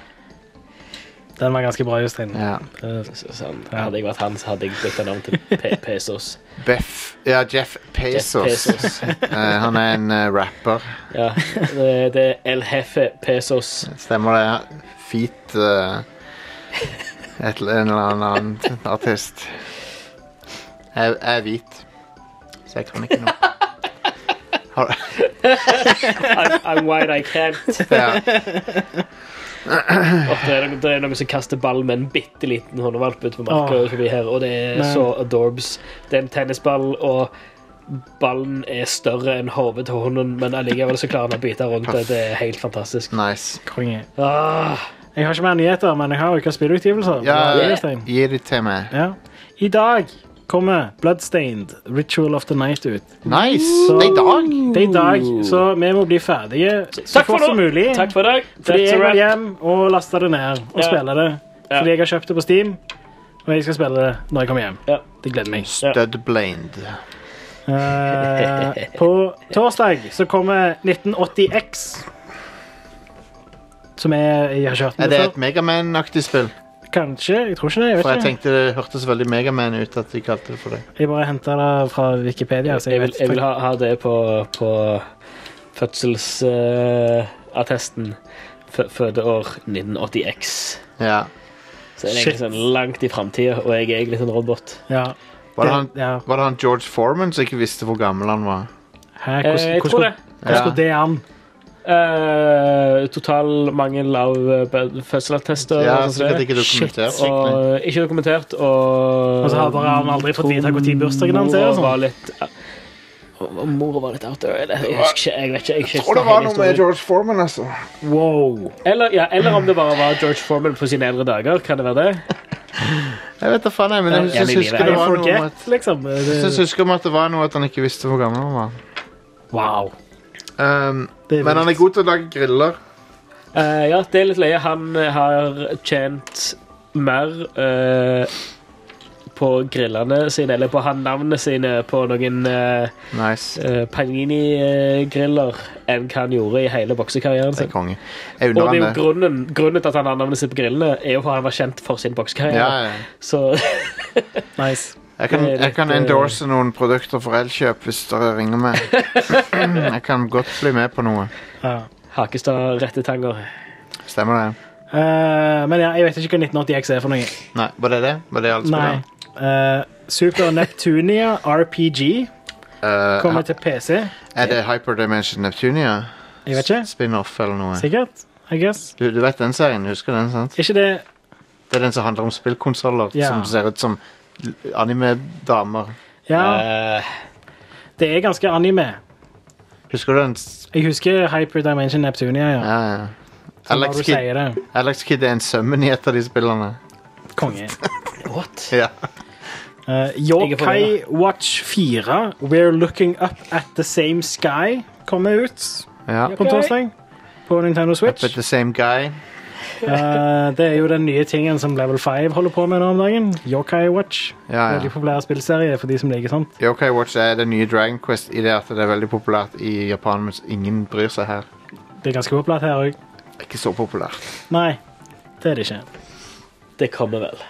[SPEAKER 3] Den var ganske bra, Justin.
[SPEAKER 1] Ja.
[SPEAKER 3] Eh,
[SPEAKER 2] Så- Sånn. Hadde jeg vært han, så hadde jeg bytta navn til Pe- Pesos.
[SPEAKER 1] Beff Ja, Jeff
[SPEAKER 2] Jeff
[SPEAKER 1] Bezos.
[SPEAKER 2] Pesos.
[SPEAKER 1] Eh, han er en eh, rapper.
[SPEAKER 2] Ja, det, det er El Jefe Pesos.
[SPEAKER 1] Stemmer det. Feat eh, et, En eller annen artist. Jeg, jeg er hvit, så jeg kan ikke noe. Har-
[SPEAKER 2] I'm, I'm white, I can't.
[SPEAKER 1] Ja.
[SPEAKER 2] Og det, er noen, det er noen som kaster ball med en bitte liten håndvalp ute på marka,
[SPEAKER 3] Åh.
[SPEAKER 2] utenfor her, og det er
[SPEAKER 3] Ah. Men-
[SPEAKER 2] så adorbs. Det er en tennisball, og ballen er større enn hodet til hunden, men allikevel så klarer han å bite rundt det. Det er helt fantastisk.
[SPEAKER 1] Nice.
[SPEAKER 3] Konge.
[SPEAKER 2] Ah,
[SPEAKER 3] Jeg har ikke mer nyheter, men jeg har ukas spillutgivelser.
[SPEAKER 1] Ja,
[SPEAKER 3] Bra, Øystein.
[SPEAKER 1] Gi det til meg.
[SPEAKER 3] ja. I dag kommer Bloodstained Ritual of the Night ut.
[SPEAKER 1] Nice! Det er i dag.
[SPEAKER 3] Det er i dag, så vi må bli ferdige så
[SPEAKER 2] takk for
[SPEAKER 3] fort som
[SPEAKER 2] nå.
[SPEAKER 3] mulig.
[SPEAKER 2] Takk for i dag.
[SPEAKER 3] Fordi
[SPEAKER 2] That's a
[SPEAKER 3] jeg går
[SPEAKER 2] wrap.
[SPEAKER 3] hjem og laster det ned og
[SPEAKER 2] Ja.
[SPEAKER 3] spiller det.
[SPEAKER 2] Ja.
[SPEAKER 3] Fordi jeg har kjøpt det på Steam, og jeg skal spille det når jeg kommer hjem.
[SPEAKER 2] Ja.
[SPEAKER 3] Det gleder meg.
[SPEAKER 1] Studblained.
[SPEAKER 3] Eh, på torsdag så kommer 1980X. Som jeg, jeg har kjørt
[SPEAKER 1] Er
[SPEAKER 3] med
[SPEAKER 1] det
[SPEAKER 3] før.
[SPEAKER 1] et Megaman-aktig spill?
[SPEAKER 3] Kanskje. Jeg tror ikke det. Jeg
[SPEAKER 1] For jeg
[SPEAKER 3] vet ikke.
[SPEAKER 1] tenkte det hørtes veldig Megaman ut at de kalte det for det.
[SPEAKER 3] Jeg bare henta det fra Wikipedia. Så jeg,
[SPEAKER 2] Jeg vil,
[SPEAKER 3] vet
[SPEAKER 2] jeg vil ha,
[SPEAKER 3] faktisk-
[SPEAKER 2] ha det på, på fødselsattesten. Fødeår 1980X.
[SPEAKER 1] Ja.
[SPEAKER 2] Så det er egentlig
[SPEAKER 3] Shit.
[SPEAKER 2] sånn langt i framtida, og jeg er egentlig en robot.
[SPEAKER 3] ja.
[SPEAKER 1] Var det han,
[SPEAKER 3] Det- ja.
[SPEAKER 1] var det han George Foreman som ikke visste hvor gammel han var?
[SPEAKER 3] Hæ,
[SPEAKER 2] Eh,
[SPEAKER 3] hvordan,
[SPEAKER 2] jeg
[SPEAKER 3] hvordan,
[SPEAKER 2] tror det.
[SPEAKER 3] hvordan går det an?
[SPEAKER 2] Eh, total mangel av eh, fødselsattester.
[SPEAKER 1] Ja,
[SPEAKER 2] og sånt som
[SPEAKER 1] sikkert
[SPEAKER 2] det.
[SPEAKER 1] ikke dokumentert.
[SPEAKER 3] Shit.
[SPEAKER 1] skikkelig.
[SPEAKER 2] Og ikke dokumentert, og
[SPEAKER 3] Og så har bare han aldri fått vite hvor tid bursdagen hans er og sånn.
[SPEAKER 2] Mora var litt eh, og Mora var litt out there. eller? Jeg husker ikke. Jeg vet ikke. Jeg
[SPEAKER 1] Jeg tror det var noe med George Foreman, altså.
[SPEAKER 3] Wow.
[SPEAKER 2] Eller, ja, eller om det bare var George Foreman på sine eldre dager. Kan det være det?
[SPEAKER 1] Jeg vet da faen, jeg, men jeg
[SPEAKER 2] Ja,
[SPEAKER 1] synes-
[SPEAKER 2] men
[SPEAKER 1] husker
[SPEAKER 2] livet er
[SPEAKER 1] det
[SPEAKER 3] I
[SPEAKER 1] var noe om
[SPEAKER 3] forget,
[SPEAKER 1] at
[SPEAKER 3] liksom.
[SPEAKER 1] jeg synes
[SPEAKER 3] Det,
[SPEAKER 1] jeg husker om at det var noe at han ikke visste hvor gammel han var.
[SPEAKER 3] wow.
[SPEAKER 1] Um,
[SPEAKER 3] Det er
[SPEAKER 1] men han er
[SPEAKER 3] vilt.
[SPEAKER 1] god til å lage griller.
[SPEAKER 2] Eh, ja, det er litt leie. Han eh, har tjent mer eh, på grillene sine, eller på han- navnene sine, på noen eh,
[SPEAKER 1] Nice.
[SPEAKER 2] eh, Panini-griller enn hva han gjorde i hele boksekarrieren
[SPEAKER 1] Det er
[SPEAKER 2] sin.
[SPEAKER 1] konge. Jeg
[SPEAKER 2] Og
[SPEAKER 1] unner
[SPEAKER 2] det er jo
[SPEAKER 1] han det.
[SPEAKER 2] grunnen, grunnen til at han har navnet sitt på grillene, er jo for at han var kjent for sin
[SPEAKER 1] Ja,
[SPEAKER 2] boksekarriere.
[SPEAKER 1] ja.
[SPEAKER 2] Så
[SPEAKER 3] Nice.
[SPEAKER 1] jeg, kan,
[SPEAKER 2] Det er
[SPEAKER 1] jeg kan
[SPEAKER 2] litt, eh,
[SPEAKER 1] endorse noen produkter for Elkjøp hvis dere ringer meg. Jeg kan godt bli med på noe.
[SPEAKER 3] Ja.
[SPEAKER 2] Hakestad rettetanger.
[SPEAKER 1] Stemmer det?
[SPEAKER 3] Eh, men ja, jeg vet ikke hva 1980X er for noe.
[SPEAKER 1] Nei, Var det det? Var det alt
[SPEAKER 3] Nei.
[SPEAKER 1] spillet?
[SPEAKER 3] Eh, Super Neptunia RPG
[SPEAKER 1] Uh,
[SPEAKER 3] kommer til PC.
[SPEAKER 1] er det Hyperdimension Neptunia?
[SPEAKER 3] Jeg vet ikke.
[SPEAKER 1] Spin-off eller noe?
[SPEAKER 3] Sikkert. I guess.
[SPEAKER 1] Du, du vet den serien? Husker du den? sant?
[SPEAKER 3] Ikke det
[SPEAKER 1] Det er den som handler om spillkonsoller
[SPEAKER 3] Ja.
[SPEAKER 1] som ser ut som l- anime-damer.
[SPEAKER 3] Ja,
[SPEAKER 2] Eh,
[SPEAKER 3] det er ganske anime.
[SPEAKER 1] Husker du den? s-
[SPEAKER 3] Jeg husker Hyperdimension Neptunia. ja.
[SPEAKER 1] Ja, ja.
[SPEAKER 3] Så når
[SPEAKER 1] Alex
[SPEAKER 3] du
[SPEAKER 1] Kidd,
[SPEAKER 3] sier det.
[SPEAKER 1] Alex Kidd er en sømmen i et av de spillene.
[SPEAKER 3] Konge.
[SPEAKER 2] what?
[SPEAKER 1] Ja.
[SPEAKER 3] Eh,
[SPEAKER 2] Jeg er på det,
[SPEAKER 3] Yokai Watch 4, We're Looking Up at the Same Sky, kommer ut
[SPEAKER 1] ja.
[SPEAKER 3] på torsdag. På Nintendo Switch.
[SPEAKER 1] But the same guy.
[SPEAKER 3] Eh, det er jo den nye tingen som Level 5 holder på med nå om dagen. Yokai Watch.
[SPEAKER 2] Ah,
[SPEAKER 1] Ja, ja.
[SPEAKER 3] Veldig populær spillserie for de som liker sånt.
[SPEAKER 1] Yokai Watch er det nye Dragon Quest i det at det er veldig populært i Japan, mens ingen bryr seg her.
[SPEAKER 3] Det er ganske populært her òg.
[SPEAKER 1] Ikke så populært.
[SPEAKER 3] Nei, det er det ikke.
[SPEAKER 2] Det kommer vel.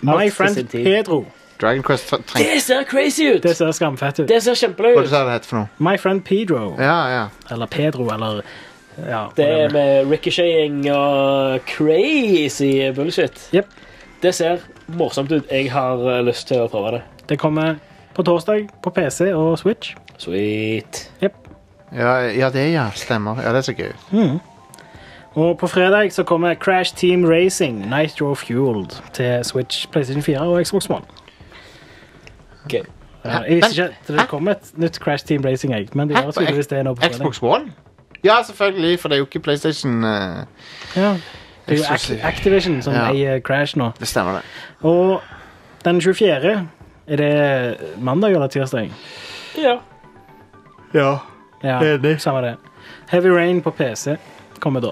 [SPEAKER 3] My
[SPEAKER 2] til sin
[SPEAKER 3] friend
[SPEAKER 2] tid.
[SPEAKER 3] Pedro.
[SPEAKER 1] Dragon Quest tre- trenger
[SPEAKER 2] Det ser crazy ut!
[SPEAKER 3] Det ser skamfett ut.
[SPEAKER 2] Det ser
[SPEAKER 1] Hva
[SPEAKER 2] kjempeløy ut.
[SPEAKER 1] sa det het for noe?
[SPEAKER 3] My friend Pedro.
[SPEAKER 1] Ja, ja.
[SPEAKER 3] Eller Pedro, eller ja,
[SPEAKER 2] Det er
[SPEAKER 3] whatever.
[SPEAKER 2] med ricocheting og crazy bullshit.
[SPEAKER 3] Jep.
[SPEAKER 2] Det ser morsomt ut. Jeg har eh, lyst til å prøve det.
[SPEAKER 3] det kommer på torsdag på PC og Switch.
[SPEAKER 2] Sweet.
[SPEAKER 1] Ja, ja, det ja, stemmer. Ja, det ser gøy ut.
[SPEAKER 3] Og på fredag så kommer Crash Team Racing Nitro Fueled til Switch, PlayStation 4 og Xbox One.
[SPEAKER 2] Ok.
[SPEAKER 3] Ja, Jeg visste ikke at det kom et nytt Crash Team Racing, jeg, men det
[SPEAKER 1] Hæ?
[SPEAKER 3] gjør
[SPEAKER 1] På
[SPEAKER 3] tydeligvis det nå på fredag.
[SPEAKER 1] Xbox One? Ja, selvfølgelig, for det er jo ikke PlayStation. eh,
[SPEAKER 3] Ja. Det er jo
[SPEAKER 1] Exclusive.
[SPEAKER 3] Ac- Activision som
[SPEAKER 1] Ja.
[SPEAKER 3] eier Crash nå.
[SPEAKER 1] Det stemmer, det.
[SPEAKER 3] Og den 24. er det mandag eller tirsdag?
[SPEAKER 2] Ja.
[SPEAKER 1] Ja.
[SPEAKER 3] Ja,
[SPEAKER 1] Enig.
[SPEAKER 3] samme det. Heavy Rain på PC kommer da.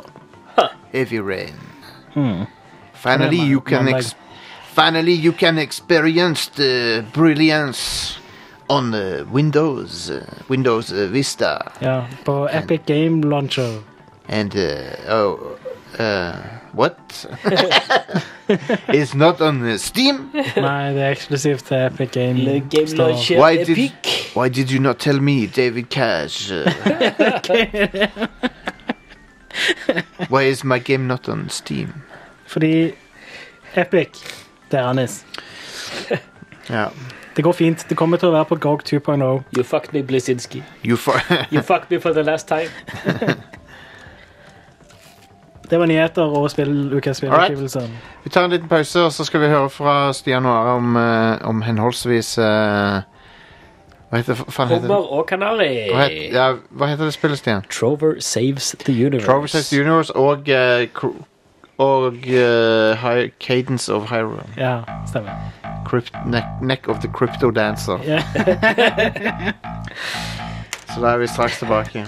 [SPEAKER 1] Heavy rain.
[SPEAKER 3] Hmm.
[SPEAKER 1] Finally,
[SPEAKER 3] Come on,
[SPEAKER 1] you can
[SPEAKER 3] man,
[SPEAKER 1] ex finally you can experience the brilliance on uh, Windows, uh, Windows uh, Vista,
[SPEAKER 3] Ja, på Epic Game Launcher.
[SPEAKER 1] and uh, oh, uh, what? it's not on uh, Steam.
[SPEAKER 3] Nei, det er eksklusivt til Epic Game Store.
[SPEAKER 1] Why did- Why did you not tell me, David Cash? Uh, why is my game not on Steam?
[SPEAKER 3] Fordi Epic, det er hans.
[SPEAKER 1] Ja.
[SPEAKER 3] Det går fint. Det kommer til å være på GOG 2.0.
[SPEAKER 2] You fucked me, Blizzinski.
[SPEAKER 1] You for...
[SPEAKER 2] You fucked me for the last time.
[SPEAKER 3] Det var nyheter og spill, UKS-spillutgivelser.
[SPEAKER 1] Vi tar en liten pause, og så skal vi høre fra Stian og Are om, eh, om henholdsvis eh, Hva heter hva faen heter det?
[SPEAKER 2] Hummer og kanari.
[SPEAKER 1] Hva heter, ja, hva heter det spillet, Stian?
[SPEAKER 2] Trover saves the universe.
[SPEAKER 1] Trover Saves the Universe og, eh, Cr- og eh, Hy- Cadence of Hyrule.
[SPEAKER 3] Ja, stemmer.
[SPEAKER 1] Crypt, neck, neck of the Crypto Dancer.
[SPEAKER 3] Ja.
[SPEAKER 1] Så da er vi straks tilbake.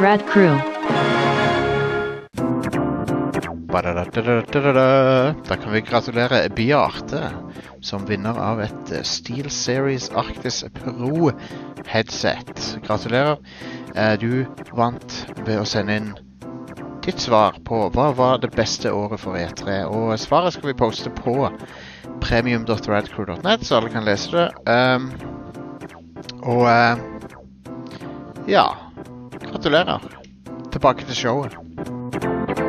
[SPEAKER 4] Rad Crew.
[SPEAKER 1] Ba-da-da-da-da-da-da. Da kan vi gratulere Bjarte som vinner av et eh, Steel Series Arctis Pro headset. Gratulerer. Eh, Du vant ved å sende inn ditt svar på hva var det beste året for E3. Og svaret skal vi poste på premium.radcrew.net, så alle kan lese det. Um, og eh, ja. Gratulerer. Tilbake til showet.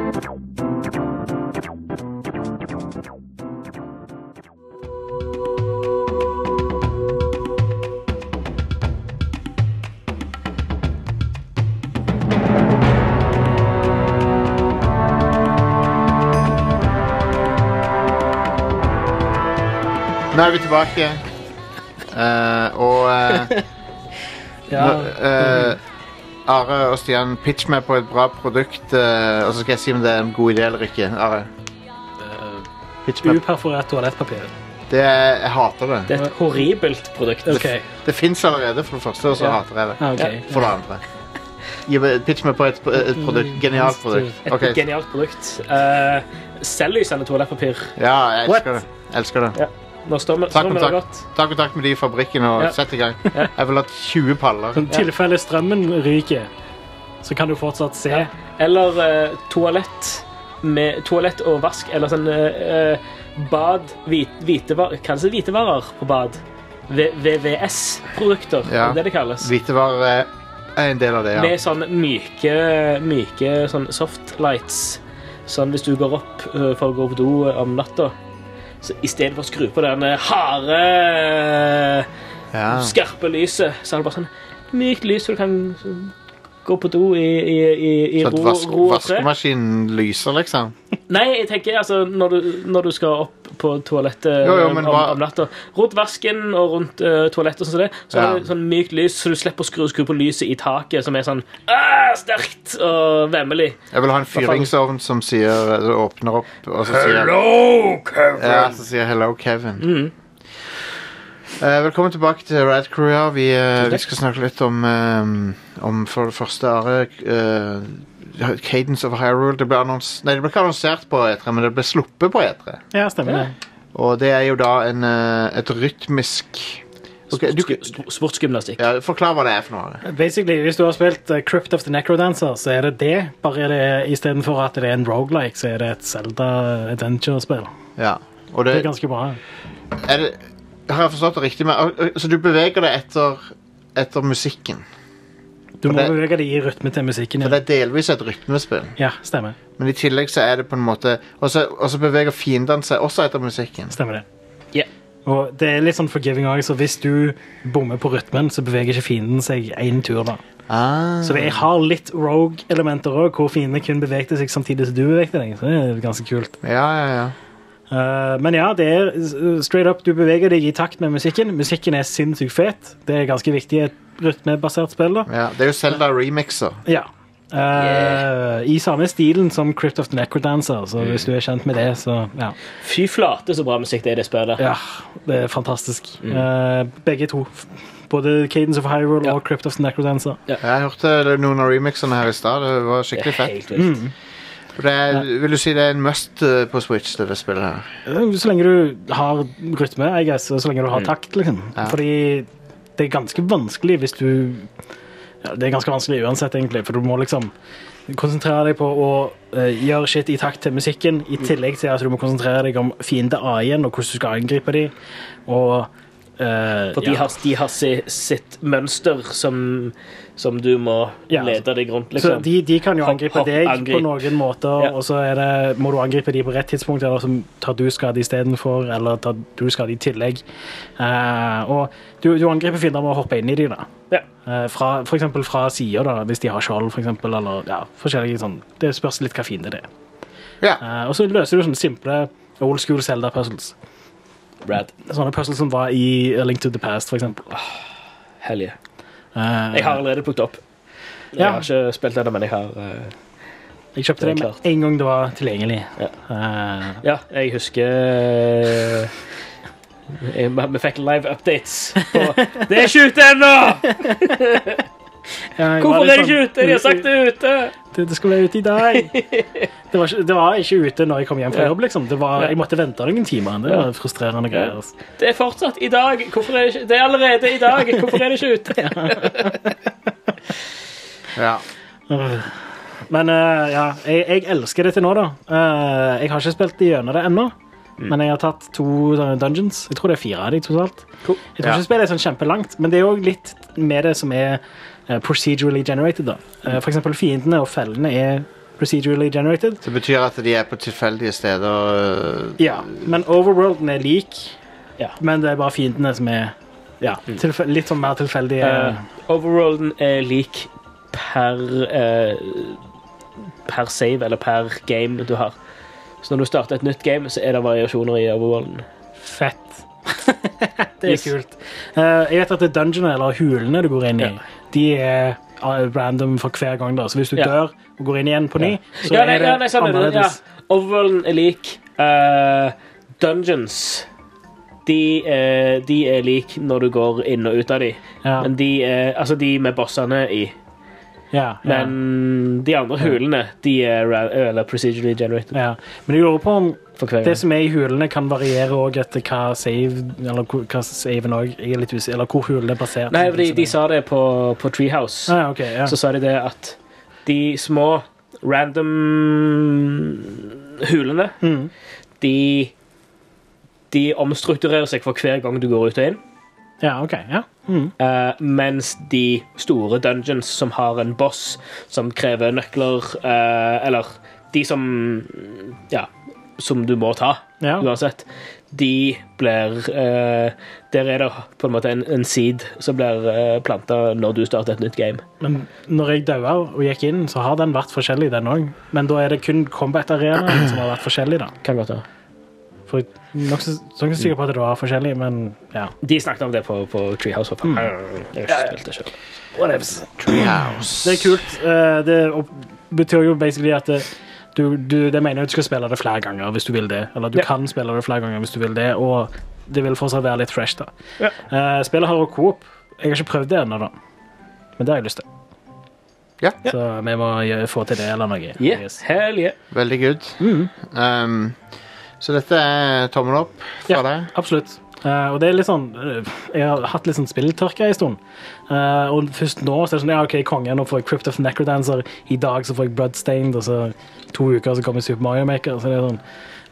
[SPEAKER 1] Nå er vi tilbake. Eh, og eh,
[SPEAKER 3] Ja.
[SPEAKER 1] nå, eh, Are og Stian, pitch meg på et bra produkt, eh, og så skal jeg si om det er en god idé eller ikke. Are,
[SPEAKER 2] Eh,
[SPEAKER 1] pitch meg.
[SPEAKER 3] Uperforert toalettpapir.
[SPEAKER 1] Det er, jeg hater det.
[SPEAKER 2] Det er et horribelt produkt.
[SPEAKER 3] OK.
[SPEAKER 1] Det fins allerede, for det første, og så
[SPEAKER 2] Ja.
[SPEAKER 1] hater jeg det.
[SPEAKER 3] Ah, ok.
[SPEAKER 2] Ja.
[SPEAKER 1] For det andre. Gi meg, pitch meg på et, et produkt. Genialt produkt.
[SPEAKER 2] Mm. Et
[SPEAKER 1] Ok,
[SPEAKER 2] genialt produkt. Uh, Selvlysende toalettpapir.
[SPEAKER 1] Ja, jeg
[SPEAKER 2] What?
[SPEAKER 1] elsker det. Jeg elsker det.
[SPEAKER 2] Ja. Nå står vi
[SPEAKER 1] Ta
[SPEAKER 2] står vi det
[SPEAKER 1] kontakt.
[SPEAKER 2] godt.
[SPEAKER 1] Ta kontakt med de i fabrikken
[SPEAKER 2] Ja.
[SPEAKER 1] og sett i gang. Jeg vil ha 20 paller.
[SPEAKER 3] I tilfelle strømmen ryker, så kan du fortsatt se.
[SPEAKER 2] Ja. Eller eh, toalett med toalett og vask, eller sånn eh, eh, bad hvit, hvitevarer, Kalles det hvitevarer på bad? V- VVS-produkter,
[SPEAKER 1] Ja.
[SPEAKER 2] er det det kalles.
[SPEAKER 1] Hvitevarer er- er eh, en del av det, ja.
[SPEAKER 2] Med sånn myke, myke sånn softlights. Sånn hvis du går opp eh, for å gå på do om natta, så i stedet for å skru på den eh, harde,
[SPEAKER 1] ja.
[SPEAKER 2] skarpe lyset, så er det bare sånn mykt lys, så du kan sånn, gå på do i, i, i, i
[SPEAKER 1] Så at
[SPEAKER 2] ro,
[SPEAKER 1] vask,
[SPEAKER 2] ro og fred.
[SPEAKER 1] vaskemaskinen lyser, liksom.
[SPEAKER 2] Nei, jeg tenker altså når du, når du skal opp på toalettet
[SPEAKER 1] Jo, jo,
[SPEAKER 2] om,
[SPEAKER 1] men
[SPEAKER 2] om
[SPEAKER 1] hva-
[SPEAKER 2] om natta Rundt vasken og rundt eh, toalettet, og sånn som det, så
[SPEAKER 1] Ja.
[SPEAKER 2] er det sånn mykt lys, så du slipper å skru, skru på lyset i taket, som er sånn «Ah, sterkt og vemmelig.
[SPEAKER 1] Jeg vil ha en fyringsovn som sier som åpner opp og så sier
[SPEAKER 2] Hello, Kevin!
[SPEAKER 1] Ja, så sier 'hello, Kevin'. Eh, velkommen tilbake til Rad Crew. Ja. Vi, eh, vi skal snakke litt om, eh, om for det første Are eh, Cadence of Hyrule. Det ble, annons Nei, det ble ikke annonsert på E3, men det ble sluppet på E3.
[SPEAKER 3] Ja, stemmer det.
[SPEAKER 1] Og det er jo da en, eh, et rytmisk Ok, du,
[SPEAKER 2] Sportsgymnastikk.
[SPEAKER 1] ja, Forklar hva det er for noe. Are.
[SPEAKER 3] Basically, Hvis du har spilt eh, Crypt of the Necrodancer, så er det det. Bare er det istedenfor at det er en rogelike, så er det et Zelda Adventure-spill.
[SPEAKER 1] Ja. Og
[SPEAKER 3] Det er
[SPEAKER 1] det,
[SPEAKER 3] ganske bra.
[SPEAKER 1] er det Har jeg forstått det riktig? Men, så du beveger deg etter, etter musikken?
[SPEAKER 3] Du må
[SPEAKER 1] det-
[SPEAKER 3] bevege deg i rytme til musikken.
[SPEAKER 1] For
[SPEAKER 3] Ja,
[SPEAKER 1] det er delvis et rytmespill.
[SPEAKER 3] ja stemmer.
[SPEAKER 1] Men i tillegg så er det på en måte Og så og så beveger fiendene seg også etter musikken.
[SPEAKER 3] Stemmer det.
[SPEAKER 2] Ja.
[SPEAKER 3] Og det er litt sånn forgiving òg, så hvis du bommer på rytmen, så beveger ikke fienden seg én tur, da.
[SPEAKER 1] Ah.
[SPEAKER 3] Så jeg har litt rogue-elementer òg, hvor fiendene kun bevegte seg samtidig som du bevegte deg. Så det er ganske kult.
[SPEAKER 1] Ja, ja, ja.
[SPEAKER 3] Eh, men ja, det er eh, straight up. Du beveger deg i takt med musikken. Musikken er sinnssykt fet. Det er ganske viktig i et rytmebasert spill. da.
[SPEAKER 1] ja. Det er jo Zelda remixer.
[SPEAKER 3] Ja. Eh, I samme stilen som Crypt of the Necrodancer, så hvis du er kjent med det, så ja.
[SPEAKER 2] Fy flate, så bra musikk det er i det spillet.
[SPEAKER 3] ja det er fantastisk.
[SPEAKER 2] Mm.
[SPEAKER 3] Eh, begge to. Både Cadence of Hyrule og Crypt of the Necrodancer.
[SPEAKER 1] Jeg hørte noen av remixene her i stad. Det var skikkelig fett. Mm.
[SPEAKER 2] Helt vilt.
[SPEAKER 1] For Det er, vil du si det er en must eh, på Switch, det spillet her?
[SPEAKER 3] Eh, Så lenge du har rytme, I
[SPEAKER 2] Mm.
[SPEAKER 3] guess, og så lenge du har takt, liksom.
[SPEAKER 1] Ja.
[SPEAKER 3] Fordi det er ganske vanskelig hvis du Ja, det er ganske vanskelig uansett, egentlig, for du må liksom konsentrere deg på å eh, gjøre shit i takt til musikken, i
[SPEAKER 2] Mm.
[SPEAKER 3] tillegg til at du må konsentrere deg om fiende AI-en og hvordan du skal angripe dem. Og eh,
[SPEAKER 2] For de
[SPEAKER 3] ja.
[SPEAKER 2] har, de har si, sitt mønster som, som du må
[SPEAKER 3] Ja.
[SPEAKER 2] lede deg rundt,
[SPEAKER 3] Så
[SPEAKER 2] liksom.
[SPEAKER 3] de, de kan jo
[SPEAKER 2] Hopp,
[SPEAKER 3] angripe
[SPEAKER 2] hopp,
[SPEAKER 3] deg
[SPEAKER 2] angrip.
[SPEAKER 3] på noen måter,
[SPEAKER 2] Ja.
[SPEAKER 3] og så er det, må du angripe de på rett tidspunkt, eller så tar du skade istedenfor, eller tar du skade i tillegg. Eh, og du, du angriper fiender med å hoppe inn i de, da.
[SPEAKER 2] Ja.
[SPEAKER 3] Eh, fra, for eksempel fra sida, da, hvis de har skjold, for eksempel, eller ja, forskjellige sånn. Det spørs litt hva fiende det er.
[SPEAKER 1] Ja.
[SPEAKER 3] Eh, og så løser du sånne simple old school Zelda-puzzles.
[SPEAKER 2] Rad.
[SPEAKER 3] Sånne puzzles som var i A Link to the Past, for eksempel.
[SPEAKER 2] Hell yeah.
[SPEAKER 3] Eh,
[SPEAKER 2] Jeg har allerede plukket opp. Jeg
[SPEAKER 3] Ja.
[SPEAKER 2] har ikke spilt det, men jeg har eh,
[SPEAKER 3] jeg kjøpte
[SPEAKER 2] Det er
[SPEAKER 3] det
[SPEAKER 2] klart.
[SPEAKER 3] med en gang det var tilgjengelig.
[SPEAKER 2] Ja.
[SPEAKER 3] Eh,
[SPEAKER 2] Ja, jeg husker eh, jeg, Vi fikk live updates på Det er ikke ute ennå!
[SPEAKER 3] ja, jeg var
[SPEAKER 2] Hvorfor
[SPEAKER 3] litt
[SPEAKER 2] er det ikke
[SPEAKER 3] sånn-
[SPEAKER 2] ute? De har sagt det er ute!
[SPEAKER 3] det, det skulle være ute i dag. Det var, ikke, det var ikke ute når jeg kom hjem fra
[SPEAKER 2] Ja.
[SPEAKER 3] jobb. liksom. Det var,
[SPEAKER 2] Ja.
[SPEAKER 3] jeg måtte vente noen timer. Det var frustrerende greier. altså.
[SPEAKER 2] Det er fortsatt i dag. Hvorfor er det ikke Det er allerede i dag. Hvorfor er det ikke ute?
[SPEAKER 1] ja.
[SPEAKER 3] Men eh, ja, jeg, jeg elsker det til nå, da. Eh, jeg har ikke spilt gjennom det ennå.
[SPEAKER 2] Mm.
[SPEAKER 3] Men jeg har tatt to sånne dungeons. Jeg tror det er fire av dem totalt.
[SPEAKER 2] Cool.
[SPEAKER 3] Jeg tror
[SPEAKER 1] Ja.
[SPEAKER 3] ikke spillet er sånn kjempelangt, men det er jo litt med det som er eh, procedurally generated. da. Eh, for eksempel fiendene og fellene er procedurally generated.
[SPEAKER 1] Det betyr at de er på tilfeldige steder. øh,
[SPEAKER 3] Ja, men overworlden er lik,
[SPEAKER 2] Ja. Mm.
[SPEAKER 3] men det er bare fiendene som er ja, tilfe- litt sånn mer tilfeldige.
[SPEAKER 2] Eh, overworlden er lik per eh, Per save eller per game du har. Så når du starter et nytt game, så er det variasjoner i overworlden.
[SPEAKER 3] Fett. det er
[SPEAKER 2] Yes.
[SPEAKER 3] kult. Eh, jeg vet at det er dungeonene, eller hulene du går inn i,
[SPEAKER 2] Ja.
[SPEAKER 3] de er eh, random for hver gang. da. Så hvis du
[SPEAKER 2] Ja.
[SPEAKER 3] dør og går inn igjen på ny, så
[SPEAKER 2] ja, nei,
[SPEAKER 3] er det
[SPEAKER 2] ja, nei, sånn er det. Ja.
[SPEAKER 3] annerledes.
[SPEAKER 2] Overworlden er lik eh, dungeons. De, eh, de er lik når du går inn og ut av de.
[SPEAKER 3] Ja.
[SPEAKER 2] Men de, er, altså de med bossene i.
[SPEAKER 3] Ja, ja.
[SPEAKER 2] Men de andre hulene de er ra- eller procedurally generated
[SPEAKER 3] ja. Men jeg lurer på om
[SPEAKER 2] for hver
[SPEAKER 3] det
[SPEAKER 2] gang.
[SPEAKER 3] som er i hulene, kan variere også etter hva save Eller hvor- hva saven også- jeg er litt usikker, eller hvor hulen er basert. Liksom.
[SPEAKER 2] Nei, de, de sa det på, på Treehouse.
[SPEAKER 3] ah, ja, ok, ja.
[SPEAKER 2] Så sa de det at de små random hulene,
[SPEAKER 3] Mm.
[SPEAKER 2] de, de omstrukturerer seg for hver gang du går ut og inn.
[SPEAKER 3] ja, ok. Ja. Mm.
[SPEAKER 2] Eh, mens de store dungeons som har en boss som krever nøkler eh, Eller de som Ja, som du må ta
[SPEAKER 3] ja.
[SPEAKER 2] uansett. De blir eh, Der er det på en måte en, en seed som blir uh, planta når du starter et nytt game.
[SPEAKER 3] Men når jeg daua og gikk inn, så har den vært forskjellig, den òg. Men da er det kun combat-arenaen som har vært forskjellig, da.
[SPEAKER 2] Kan godt være.
[SPEAKER 3] For jeg er nokså nokså sikker på at det var forskjellig, men ja.
[SPEAKER 2] De snakket om det på, på Treehouse. for faen. Jeg har ikke spilt det selv.
[SPEAKER 1] Treehouse.
[SPEAKER 3] Det er kult. Eh, Det opp- betyr jo basically at det, du, du, det mener jeg at du skal spille det flere ganger hvis du vil det. Eller du
[SPEAKER 2] Ja.
[SPEAKER 3] kan spille det flere ganger hvis du vil det, og det vil fortsatt være litt fresh, da.
[SPEAKER 2] Ja.
[SPEAKER 3] Eh, Spillet har også coop. Jeg har ikke prøvd det ennå, da. Men det har jeg lyst til.
[SPEAKER 1] Ja.
[SPEAKER 3] Så vi må gjø- få til det eller noe.
[SPEAKER 2] Yeah,
[SPEAKER 3] Yes.
[SPEAKER 2] hell yeah.
[SPEAKER 1] Veldig good. Um, så dette er tommel opp fra
[SPEAKER 3] Ja.
[SPEAKER 1] deg.
[SPEAKER 3] Absolutt. Eh, og det er litt sånn eh, Jeg har hatt litt sånn spilltørke en stund. Eh, og først nå så er det sånn Ja, OK, konge, nå får jeg Crypt of Necrodancer. I dag så får jeg Bloodstained, og så to uker så kommer Super Mario Maker. Så det er sånn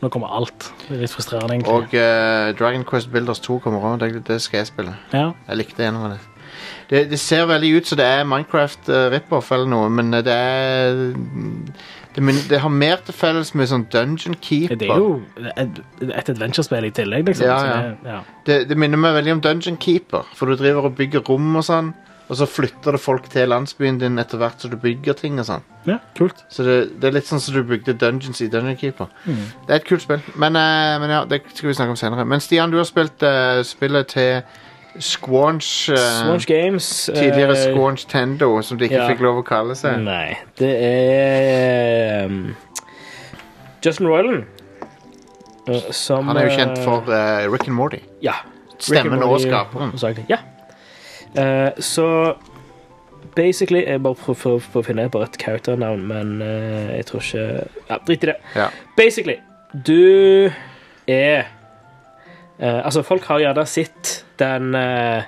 [SPEAKER 3] Nå kommer alt. Det er litt frustrerende, egentlig.
[SPEAKER 1] Og eh, Dragon Quest Builders 2 kommer òg. Det, det skal jeg spille.
[SPEAKER 3] ja.
[SPEAKER 1] Jeg likte en av det. det. Det ser veldig ut som det er Minecraft uh, rip-off eller noe, men eh, det er det, men det har mer til felles med sånn Dungeon Keeper.
[SPEAKER 3] Det er jo et, et adventurespill i tillegg, liksom.
[SPEAKER 1] Ja,
[SPEAKER 3] så
[SPEAKER 1] ja.
[SPEAKER 3] det- ja.
[SPEAKER 1] Det, det minner meg veldig om Dungeon Keeper, for du driver og bygger rom og sånn, og så flytter det folk til landsbyen din etter hvert som du bygger ting og sånn.
[SPEAKER 3] ja, kult.
[SPEAKER 1] Så det, det er litt sånn som du bygde Dungeons i Dungeon Keeper.
[SPEAKER 3] Mm.
[SPEAKER 1] Det er et kult spill, men, eh, men ja, det skal vi snakke om senere. Men Stian, du har spilt eh, spillet til Squanch, eh,
[SPEAKER 2] Swanch Games. eh,
[SPEAKER 1] tidligere Squanch Tendo, som de ikke
[SPEAKER 2] ja. Mm.
[SPEAKER 1] fikk lov å kalle seg.
[SPEAKER 2] Nei, det er um, Justin Roiland. eh, Som
[SPEAKER 1] Han er jo kjent
[SPEAKER 2] eh,
[SPEAKER 1] for eh, Rick and Morty.
[SPEAKER 2] Ja.
[SPEAKER 1] Stemmen
[SPEAKER 2] Rick and
[SPEAKER 1] og
[SPEAKER 2] Morty-
[SPEAKER 1] skaperen.
[SPEAKER 2] hovedsakelig. Ja. Eh, så basically Jeg bare prøver å finne på et characternavn, men eh, jeg tror ikke Ja, drit i det.
[SPEAKER 1] Ja.
[SPEAKER 2] Basically, du er eh, Altså, folk har uh, gjerne sett den eh,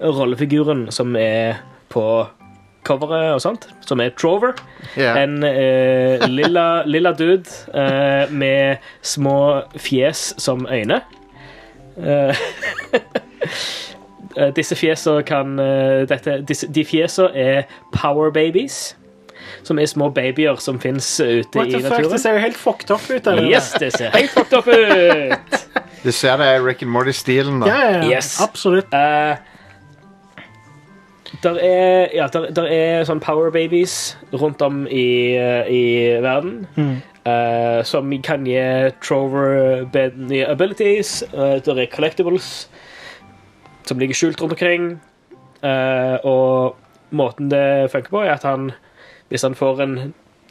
[SPEAKER 2] rollefiguren som er på coveret og sånt, som er Trover.
[SPEAKER 1] Ja.
[SPEAKER 2] En eh, lilla, lilla dude eh, med små fjes som øyne. Eh, eh, disse fjesa kan eh, dette, disse, De fjesa er power babies. Som er små babyer som fins ute
[SPEAKER 3] What
[SPEAKER 2] i
[SPEAKER 3] the fuck, det
[SPEAKER 2] naturen.
[SPEAKER 3] ser jo helt fucked up ut. eller?
[SPEAKER 2] Yes, det ser helt fucked up ut!
[SPEAKER 1] Du ser det er Rick and Morty-stilen, da.
[SPEAKER 3] Ja, ja, ja.
[SPEAKER 2] Yes.
[SPEAKER 3] Absolutt.
[SPEAKER 2] Eh, der er, ja, der, der er sånn power babies rundt om i, eh, i verden. eh, som kan gi Trover bed- nye abilities. Eh, der er collectibles som ligger skjult rundt omkring. Eh, og måten det funker på, er at han, hvis han får en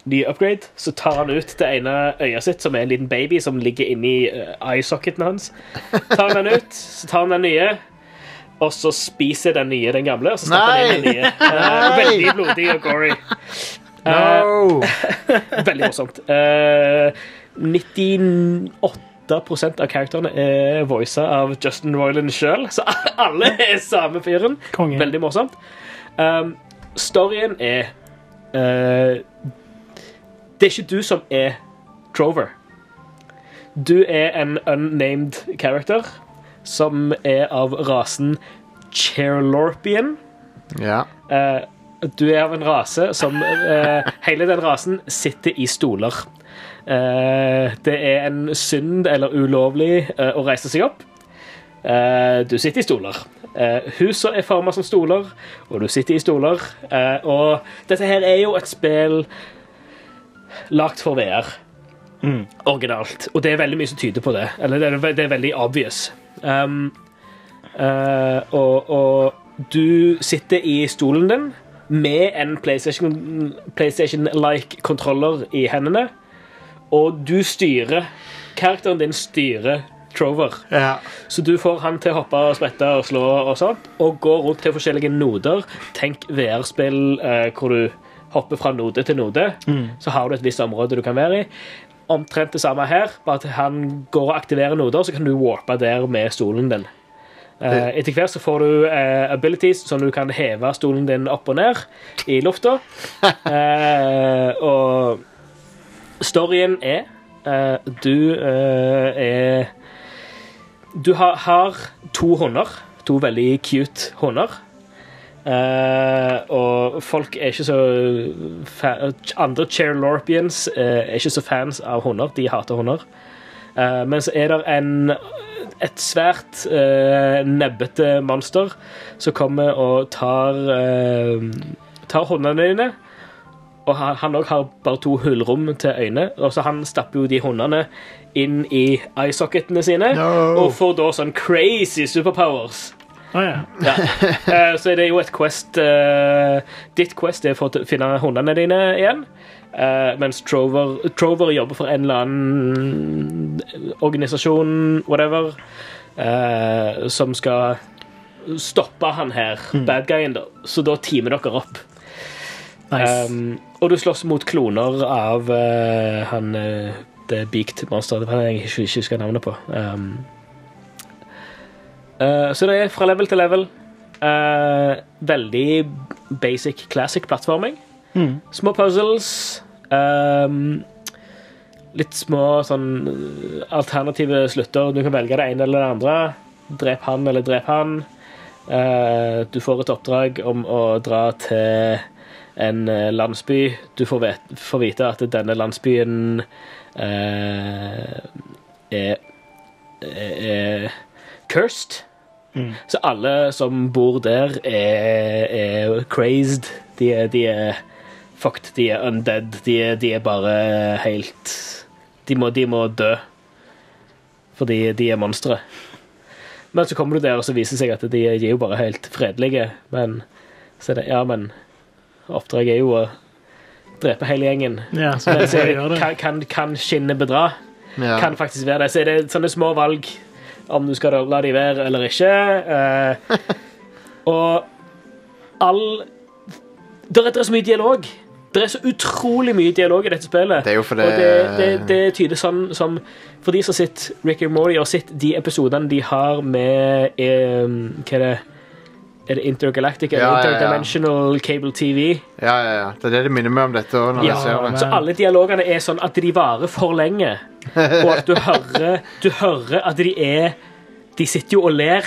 [SPEAKER 2] ny upgrade, så tar han ut det ene øyet sitt, som er en liten baby som ligger inni eh, eyesocketen hans. Tar han den ut, så tar han den nye. Og så spiser den nye den gamle, og så stapper han inn den nye. Eh,
[SPEAKER 1] Nei!
[SPEAKER 2] veldig blodig og gory. Eh,
[SPEAKER 1] No!
[SPEAKER 2] Veldig morsomt. Eh, 98 av karakterene er voisa av Justin Roiland sjøl, så alle er samme fyren.
[SPEAKER 3] Konge.
[SPEAKER 2] Veldig morsomt. Um, storyen er eh, Det er ikke du som er Trover. Du er en unnamed character som er av rasen Cherlorpian.
[SPEAKER 1] Ja.
[SPEAKER 2] Eh, du er av en rase som eh, Hele den rasen sitter i stoler. Eh, det er en synd eller ulovlig eh, å reise seg opp. Eh, du sitter i stoler. Uh, Husene er forma som stoler, og du sitter i stoler. Eh, og dette her er jo et spill lagd for VR. Originalt. Og det er veldig mye som tyder på det. Eller det er, ve- det er veldig obvious. Um, Eh, og, og du sitter i stolen din med en PlayStation- PlayStation-like kontroller i hendene, og du styrer Karakteren din styrer Trover.
[SPEAKER 1] ja.
[SPEAKER 2] Så du får han til å hoppe og sprette og slå og sånt, og gå rundt til forskjellige noder. Tenk VR-spill eh, hvor du hopper fra node til node. Så har du et visst område du kan være i. Omtrent det samme her, bare at han går og aktiverer noder, så kan du warpe der med stolen din. Eh, etter hvert så får du eh, abilities som du kan heve stolen din opp og ned i lufta. Eh, og storyen er eh, Du eh, er du har, har to hunder. To veldig cute hunder. Eh, og folk er ikke så fa- Andre Cherlorpians eh, er ikke så fans av hunder. De hater hunder. Eh, men så er det en, et svært eh, nebbete monster som kommer og tar eh, Tar hundene dine. Og han- han òg har bare to hullrom til øyne. Og så han stapper jo de hundene inn i eyesocketene sine.
[SPEAKER 1] No.
[SPEAKER 2] Og får da sånn crazy superpowers.
[SPEAKER 3] Å, ja.
[SPEAKER 2] Ja. Eh, så er det jo et quest eh, Ditt quest er for å finne hundene dine igjen. Eh, mens Trover, Trover jobber for en eller annen organisasjon, whatever, eh, som skal stoppe han her,
[SPEAKER 3] Mm.
[SPEAKER 2] bad guyen, da. Så da teamer dere opp.
[SPEAKER 3] Nice.
[SPEAKER 2] Um, og du slåss mot kloner av eh, han eh, The Beaked Monster. Det var det jeg ikke, ikke husker navnet på. Um, eh, så det er fra level til level. Eh, veldig basic classic plattforming. Små puzzles. Um, litt små sånn eh, alternative slutter. Du kan velge det ene eller det andre. Drep han eller drep han. Eh, du får et oppdrag om å dra til en eh, landsby. Du får, vet, får vite at denne landsbyen eh, er, er, er cursed. Så alle som bor der, er, er crazed. De er, de er fucked, de er undead. De er, de er bare helt de må, de må dø. Fordi de er monstre. Men så kommer du der, og så viser det seg at de de er jo bare helt fredelige. Men så er det Ja, men oppdraget er jo å drepe hele gjengen.
[SPEAKER 3] ja, så
[SPEAKER 2] Men så er det,
[SPEAKER 3] gjør det.
[SPEAKER 2] kan, kan, kan skinnet bedra?
[SPEAKER 1] Ja.
[SPEAKER 2] Kan faktisk være det. Så er det sånne små valg om du skal la de være eller ikke. Eh, og all Der er det er så mye dialog. Det er så utrolig mye dialog i dette spillet.
[SPEAKER 1] Det er jo fordi
[SPEAKER 2] Og det, det, det tyder sånn som For de som sitter Rick and Morty og sitter de episodene de har med eh, Hva er det Er det Intergalactic? Er det
[SPEAKER 1] Ja, ja, ja.
[SPEAKER 2] Interdimensional Cable TV?
[SPEAKER 1] Ja, ja, ja. Det er det det minner meg om dette òg, når
[SPEAKER 2] Ja,
[SPEAKER 1] jeg ser det.
[SPEAKER 2] så alle dialogene er sånn at de varer for lenge. Og at du hører, du hører at de er De sitter jo og ler,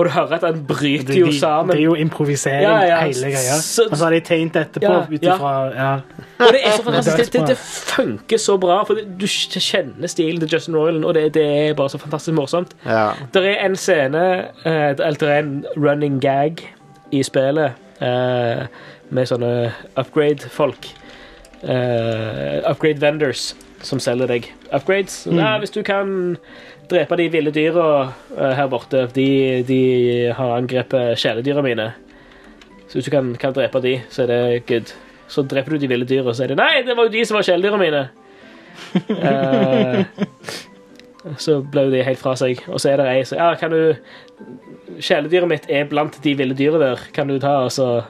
[SPEAKER 2] og du hører at han bryter
[SPEAKER 3] de,
[SPEAKER 2] jo
[SPEAKER 3] det er
[SPEAKER 2] sammen.
[SPEAKER 3] jo improvisering,
[SPEAKER 2] Ja, ja.
[SPEAKER 3] hele greia.
[SPEAKER 2] Så-
[SPEAKER 3] Og så har de tegnet etterpå
[SPEAKER 2] Ja,
[SPEAKER 3] ut ifra ja.
[SPEAKER 2] Og det er så fantastisk. Det, det,
[SPEAKER 3] dødsbra.
[SPEAKER 2] det funker så bra, for du kjenner stilen til Justin Roiland, og det, det er bare så fantastisk morsomt.
[SPEAKER 1] Ja.
[SPEAKER 2] Det er en scene, eh, eller det er en running gag i spillet eh, med sånne upgrade-folk. Eh, upgrade vendors som selger deg upgrades. Nei, hvis du kan drepe de ville dyra eh, her borte de, de har angrepet kjæledyra mine. Så hvis du kan, kan drepe de, så er det good. Så dreper du de ville dyra, så er det Nei, det var jo de som var kjæledyra mine! Eh, så ble jo de helt fra seg. Og så er det ei som Ja, kan du Kjæledyret mitt er blant de ville dyra der. Kan du ta og så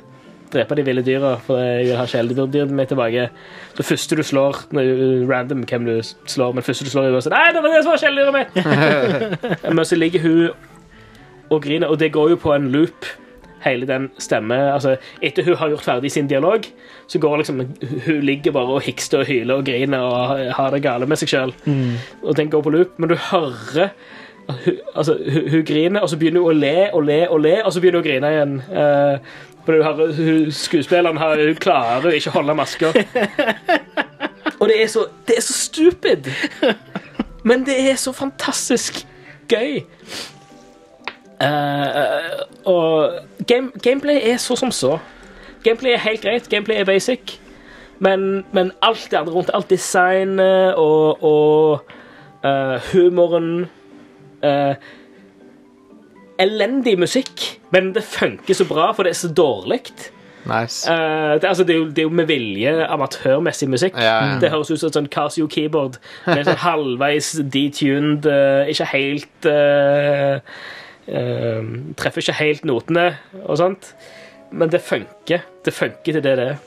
[SPEAKER 2] drepe de ville dyra, for jeg vil ha kjæledyret mitt tilbake. Så første du slår nå er det Random hvem du slår, men første du slår, er jo sånn Nei, det var det som var kjæledyret mitt! men så ligger hun og griner, og det går jo på en loop. Hele den stemme, altså Etter hun har gjort ferdig sin dialog, så går liksom Hun ligger bare og hikster og hyler og griner og har det gale med seg sjøl og den går på loop, men du hører hun, altså, hun, hun griner, og så begynner hun å le og le og le, og så begynner hun å grine igjen. Eh, for du hører, hun, skuespilleren har, hun klarer jo ikke å holde masker. Og det er så, det er så stupid, men det er så fantastisk gøy. Eh, og game, gameplay er så som så. Gameplay er helt greit. Gameplay er basic. Men, men alt det andre rundt, alt designet og, og eh, humoren eh, Elendig musikk, men det funker så bra, for det er så dårlig.
[SPEAKER 1] Nice.
[SPEAKER 2] det, altså, det, er jo- det er jo med vilje amatørmessig musikk.
[SPEAKER 1] Ja, ja.
[SPEAKER 2] Det høres ut som et sånn Casio keyboard med sånn halvveis detuned eh, Ikke helt eh, eh, Treffer ikke helt notene og sånt. Men det funker. Det funker til det det er.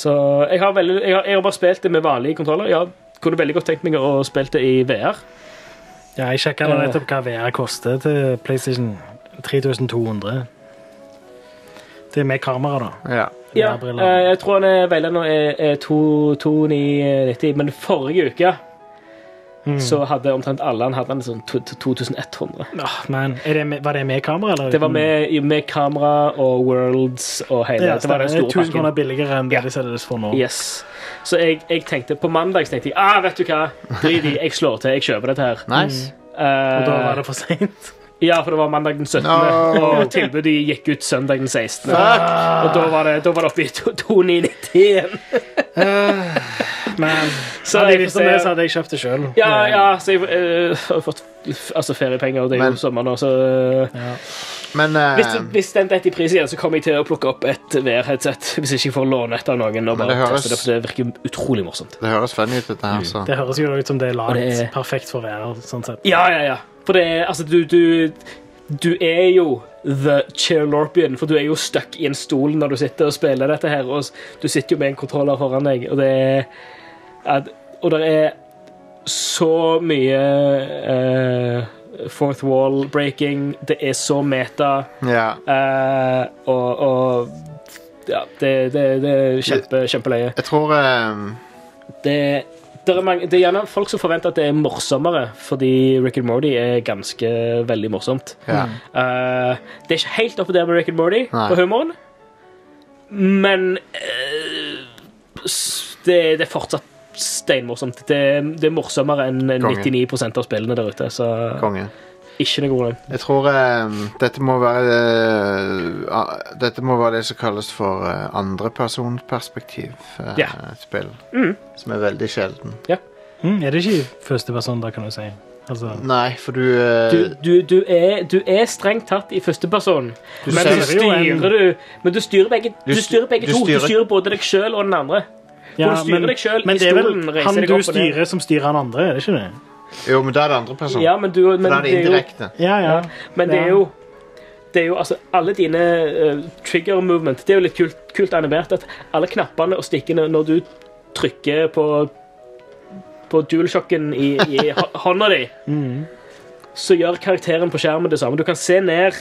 [SPEAKER 2] Så jeg har, veldig, jeg har, jeg har bare spilt det med vanlige kontroller. Jeg har- kunne veldig godt tenkt meg å spille det i VR.
[SPEAKER 3] ja, jeg sjekka nå nettopp hva VR koster til PlayStation 3200. Det er med kamera, da.
[SPEAKER 1] Ja.
[SPEAKER 2] Ja,
[SPEAKER 3] VR-briller.
[SPEAKER 2] eh, jeg tror han er veilederen er, er 2990, men forrige uke så hadde omtrent alle han hadde han sånn to- to- 2100.
[SPEAKER 3] Åh, men er det med, var det med kamera, eller?
[SPEAKER 2] Det var med, med kamera og Worlds og hele.
[SPEAKER 3] Ja,
[SPEAKER 2] det var den
[SPEAKER 3] stemmer.
[SPEAKER 2] store
[SPEAKER 3] 1000 kroner
[SPEAKER 2] pakken.
[SPEAKER 3] billigere enn det
[SPEAKER 2] Ja.
[SPEAKER 3] de selges for nå.
[SPEAKER 2] Yes. Så jeg, jeg tenkte, på mandag så tenkte jeg ah, vet du hva, drit i, jeg slår til, jeg kjøper dette her.
[SPEAKER 1] Nice.
[SPEAKER 3] Og da var
[SPEAKER 2] Eh,
[SPEAKER 3] det for seint.
[SPEAKER 2] ja, for det var mandag den 17.,
[SPEAKER 1] No.
[SPEAKER 2] og tilbudet gikk ut søndag den 16.
[SPEAKER 1] Fuck!
[SPEAKER 2] Og da var det, da var det oppe i to- 2990 igjen.
[SPEAKER 3] Men
[SPEAKER 2] Så
[SPEAKER 3] hadde jeg
[SPEAKER 2] jeg
[SPEAKER 3] visst
[SPEAKER 2] får
[SPEAKER 3] om det,
[SPEAKER 2] se-
[SPEAKER 3] så hadde jeg kjøpt det sjøl.
[SPEAKER 2] Ja, ja, så jeg eh, har fått f- altså feriepenger, og det er
[SPEAKER 1] Men-
[SPEAKER 2] jo sommer nå, så eh,
[SPEAKER 1] Men eh,
[SPEAKER 2] hvis, hvis den detter i pris igjen, så kommer jeg til å plukke opp et VR-headset. Hvis ikke jeg får låne et av noen. Og
[SPEAKER 1] Men
[SPEAKER 2] bare
[SPEAKER 1] det høres-
[SPEAKER 2] teste det, for det virker utrolig morsomt.
[SPEAKER 1] det høres funny ut, dette her, så
[SPEAKER 3] Det høres jo ut som det er
[SPEAKER 2] Og
[SPEAKER 3] lagd
[SPEAKER 2] det er-
[SPEAKER 3] perfekt for VR. sånn sett.
[SPEAKER 2] Ja, ja, ja. For det er Altså, du Du, du er jo the chairlorpian, for du er jo stuck i en stol når du sitter og spiller dette her, og s- du sitter jo med en kontroller foran deg, og det er at, Og det er så mye eh, fourth wall breaking, det er så meta,
[SPEAKER 1] Ja.
[SPEAKER 2] eh, og, og ja, det, det, det er kjempe, kjempeløye.
[SPEAKER 1] Jeg tror eh,
[SPEAKER 2] Det, det, er mange, det er gjerne folk som forventer at det er morsommere, fordi Rick and Morty er ganske veldig morsomt.
[SPEAKER 1] Ja.
[SPEAKER 2] Eh, det er ikke helt oppe der med Rick and Morty
[SPEAKER 1] Nei.
[SPEAKER 2] på humoren, men eh, s- det, det er fortsatt steinmorsomt. Det, det er morsommere enn
[SPEAKER 1] Konge.
[SPEAKER 2] 99 av spillene der ute, så
[SPEAKER 1] Konge.
[SPEAKER 2] ikke noe problem.
[SPEAKER 1] Jeg tror eh, dette må være eh, a- Dette må være det som kalles for eh, andrepersonperspektiv. eh,
[SPEAKER 2] Ja.
[SPEAKER 1] Spill.
[SPEAKER 2] Mm.
[SPEAKER 1] Som er veldig sjelden.
[SPEAKER 3] Mm, er det ikke i første person, da, kan du si? Altså,
[SPEAKER 1] Nei, for du, eh,
[SPEAKER 2] Du, du, du, er, du er strengt tatt i førsteperson,
[SPEAKER 1] Du
[SPEAKER 2] men,
[SPEAKER 1] ser
[SPEAKER 2] du
[SPEAKER 3] jo en-
[SPEAKER 2] styrer du, men du styrer begge,
[SPEAKER 1] Du
[SPEAKER 2] du
[SPEAKER 1] styr-
[SPEAKER 2] styrer begge
[SPEAKER 1] du
[SPEAKER 2] to.
[SPEAKER 1] styrer-
[SPEAKER 2] Du styrer både deg sjøl og den andre.
[SPEAKER 3] ja,
[SPEAKER 2] du styrer deg selv
[SPEAKER 3] men
[SPEAKER 2] i
[SPEAKER 3] det er vel
[SPEAKER 2] stolen, reiser
[SPEAKER 3] han
[SPEAKER 2] deg
[SPEAKER 3] du
[SPEAKER 2] opp og ned.
[SPEAKER 3] styrer, som styrer han andre, er det ikke det?
[SPEAKER 1] Jo, men da er det andreperson.
[SPEAKER 2] Ja, men du, men
[SPEAKER 1] da er det
[SPEAKER 2] det er jo
[SPEAKER 1] indirekte.
[SPEAKER 3] Ja, ja.
[SPEAKER 2] Ja, Men det er jo det er jo, altså, Alle dine eh, trigger movement Det er jo litt kult, kult animert. At alle knappene og stikkene når du trykker på På dualsjokken i, i
[SPEAKER 3] Mm.
[SPEAKER 2] hå- hånda di, så gjør karakteren på skjermen det samme. Du kan se ned,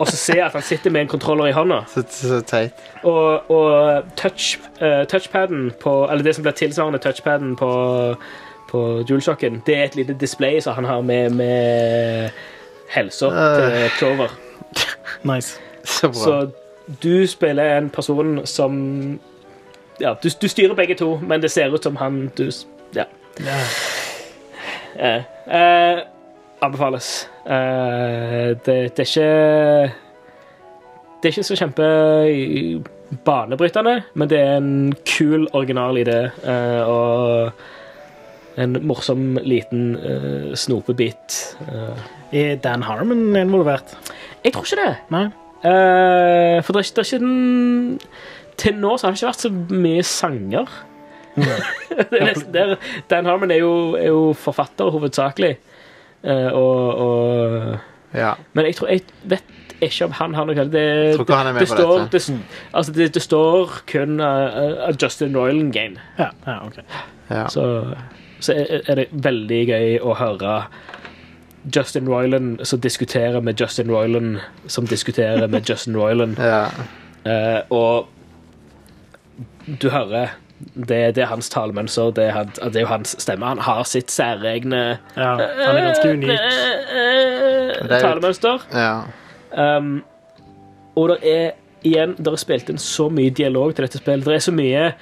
[SPEAKER 2] og så ser jeg at han sitter med en kontroller i hånda.
[SPEAKER 1] Så, så teit.
[SPEAKER 2] Og, og touch, eh, touchpaden på Eller det som blir tilsvarende touchpaden på, på DualShocken, det er et lite display som han har med, med helsa til Clover.
[SPEAKER 3] Nice.
[SPEAKER 1] Så bra.
[SPEAKER 2] Så du spiller en person som Ja, du, du styrer begge to, men det ser ut som han du s- Ja.
[SPEAKER 3] Ja.
[SPEAKER 2] Eh, eh, anbefales. Eh, det, det er ikke Det er ikke så kjempe banebrytende, men det er en kul, original idé. eh, og en morsom, liten eh, snopebit. Eh,
[SPEAKER 3] Er Dan Harmon involvert?
[SPEAKER 2] jeg tror ikke det.
[SPEAKER 3] Nei?
[SPEAKER 2] Eh, for det er, ikke- det er ikke den Til nå så har det ikke vært så mye sanger. det er nesten der. Dan Harmon er jo, er jo forfatter hovedsakelig. Eh, og, og
[SPEAKER 1] Ja.
[SPEAKER 2] Men jeg tror jeg vet ikke om han har noe Det,
[SPEAKER 1] Tror ikke han er med
[SPEAKER 2] det,
[SPEAKER 1] på
[SPEAKER 2] står,
[SPEAKER 1] dette.
[SPEAKER 2] det, s- altså det, det står kun eh, eh, Justin Royland Game.
[SPEAKER 3] Ja, ja ok.
[SPEAKER 1] ja.
[SPEAKER 2] Så, så er er det veldig gøy å høre Justin Royland som diskuterer med Justin Royland som diskuterer med Justin Royland.
[SPEAKER 1] ja.
[SPEAKER 2] Eh, og du hører det, det er hans talemønster, det er, han, det er jo hans stemme. Han har sitt særegne
[SPEAKER 3] Ja, han er ganske unik.
[SPEAKER 2] eh,
[SPEAKER 1] Det er jo-
[SPEAKER 2] talemønster.
[SPEAKER 1] ja.
[SPEAKER 2] Um, og det er igjen, det er spilt inn så mye dialog til dette spillet. Det er så mye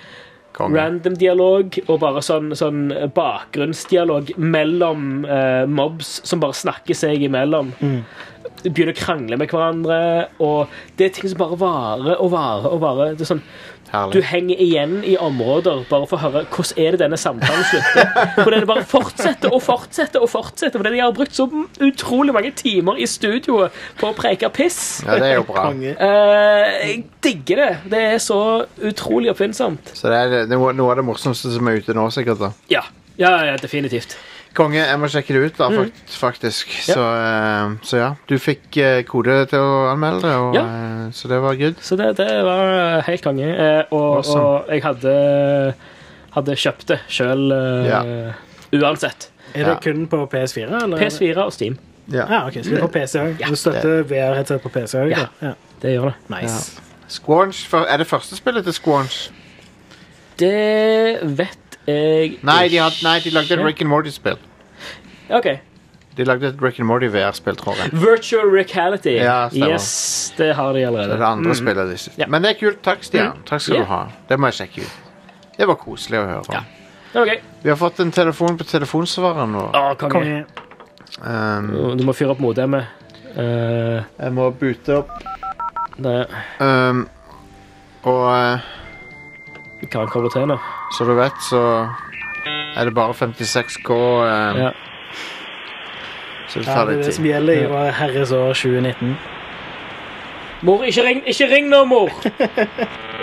[SPEAKER 1] Konge.
[SPEAKER 2] random dialog og bare sånn, sånn bakgrunnsdialog mellom eh, mobs som bare snakker seg imellom. De Begynner å krangle med hverandre, og det er ting som bare varer og varer. og varer. Det er sånn, du
[SPEAKER 1] Herlig.
[SPEAKER 2] henger igjen i områder bare for å høre hvordan er det denne samtalen slutter. For det bare fortsetter og fortsetter og fortsetter. Fordi de har brukt så utrolig mange timer i studioet på å preke piss.
[SPEAKER 1] Ja, det er jo bra.
[SPEAKER 3] Konge.
[SPEAKER 2] Eh, jeg digger det. Det er så utrolig oppfinnsomt.
[SPEAKER 1] Så det er, det er noe av det morsomste som er ute nå, sikkert. da.
[SPEAKER 2] Ja, ja, ja definitivt.
[SPEAKER 1] Konge, jeg må sjekke det ut,
[SPEAKER 2] Mm.
[SPEAKER 1] da, fakt, faktisk. Så, eh, så ja. Du fikk eh, kode til å anmelde det, og,
[SPEAKER 2] Ja.
[SPEAKER 1] eh, så det var good.
[SPEAKER 2] Så det, det var helt konge. Eh, og,
[SPEAKER 1] Awesome.
[SPEAKER 2] og jeg hadde, hadde kjøpt det sjøl eh, uansett.
[SPEAKER 3] Er det
[SPEAKER 1] Ja.
[SPEAKER 3] kun på PS4? Eller?
[SPEAKER 2] PS4 og Steam.
[SPEAKER 1] Ja.
[SPEAKER 3] Ja, ok, så det er på PC òg.
[SPEAKER 2] Ja.
[SPEAKER 3] Du støtter VR-headset på PC òg?
[SPEAKER 2] Ja. Det gjør det.
[SPEAKER 3] Nice.
[SPEAKER 1] Squanch, for, Er det første spillet til Squanch?
[SPEAKER 2] Det vet jeg
[SPEAKER 1] Nei, de, had, nei, de lagde et
[SPEAKER 2] Ja.
[SPEAKER 1] Rick and Morty-spill.
[SPEAKER 2] OK.
[SPEAKER 1] De lagde et Rick and Morty-VR-spill, tror jeg.
[SPEAKER 2] Virtual Recality.
[SPEAKER 1] Ja, stemmer.
[SPEAKER 2] yes, det har de
[SPEAKER 1] Det er
[SPEAKER 2] allerede.
[SPEAKER 1] det andre spillet disse.
[SPEAKER 2] Mm. Ja. Mm.
[SPEAKER 1] Men det er kult. Takk, Stian. Takk skal
[SPEAKER 2] Ja.
[SPEAKER 1] du ha. Det må jeg sjekke ut. Det var koselig å høre.
[SPEAKER 2] Ja. Det var gøy.
[SPEAKER 1] Vi har fått en telefon på telefonsvareren vår.
[SPEAKER 2] Å, konge.
[SPEAKER 3] Konge.
[SPEAKER 1] Um,
[SPEAKER 2] Du må fyre opp modemet. Eh,
[SPEAKER 1] jeg må bute opp.
[SPEAKER 2] det
[SPEAKER 1] Um, og eh,
[SPEAKER 2] kan han koble til nå.
[SPEAKER 1] som du vet, så er det bare 56K, eh,
[SPEAKER 2] Ja.
[SPEAKER 1] så det
[SPEAKER 3] Ja,
[SPEAKER 1] tar
[SPEAKER 3] det er
[SPEAKER 1] litt
[SPEAKER 3] det som
[SPEAKER 1] tid.
[SPEAKER 3] gjelder i vår herres år 2019.
[SPEAKER 2] Mor, ikke ring, ikke ring nå, mor!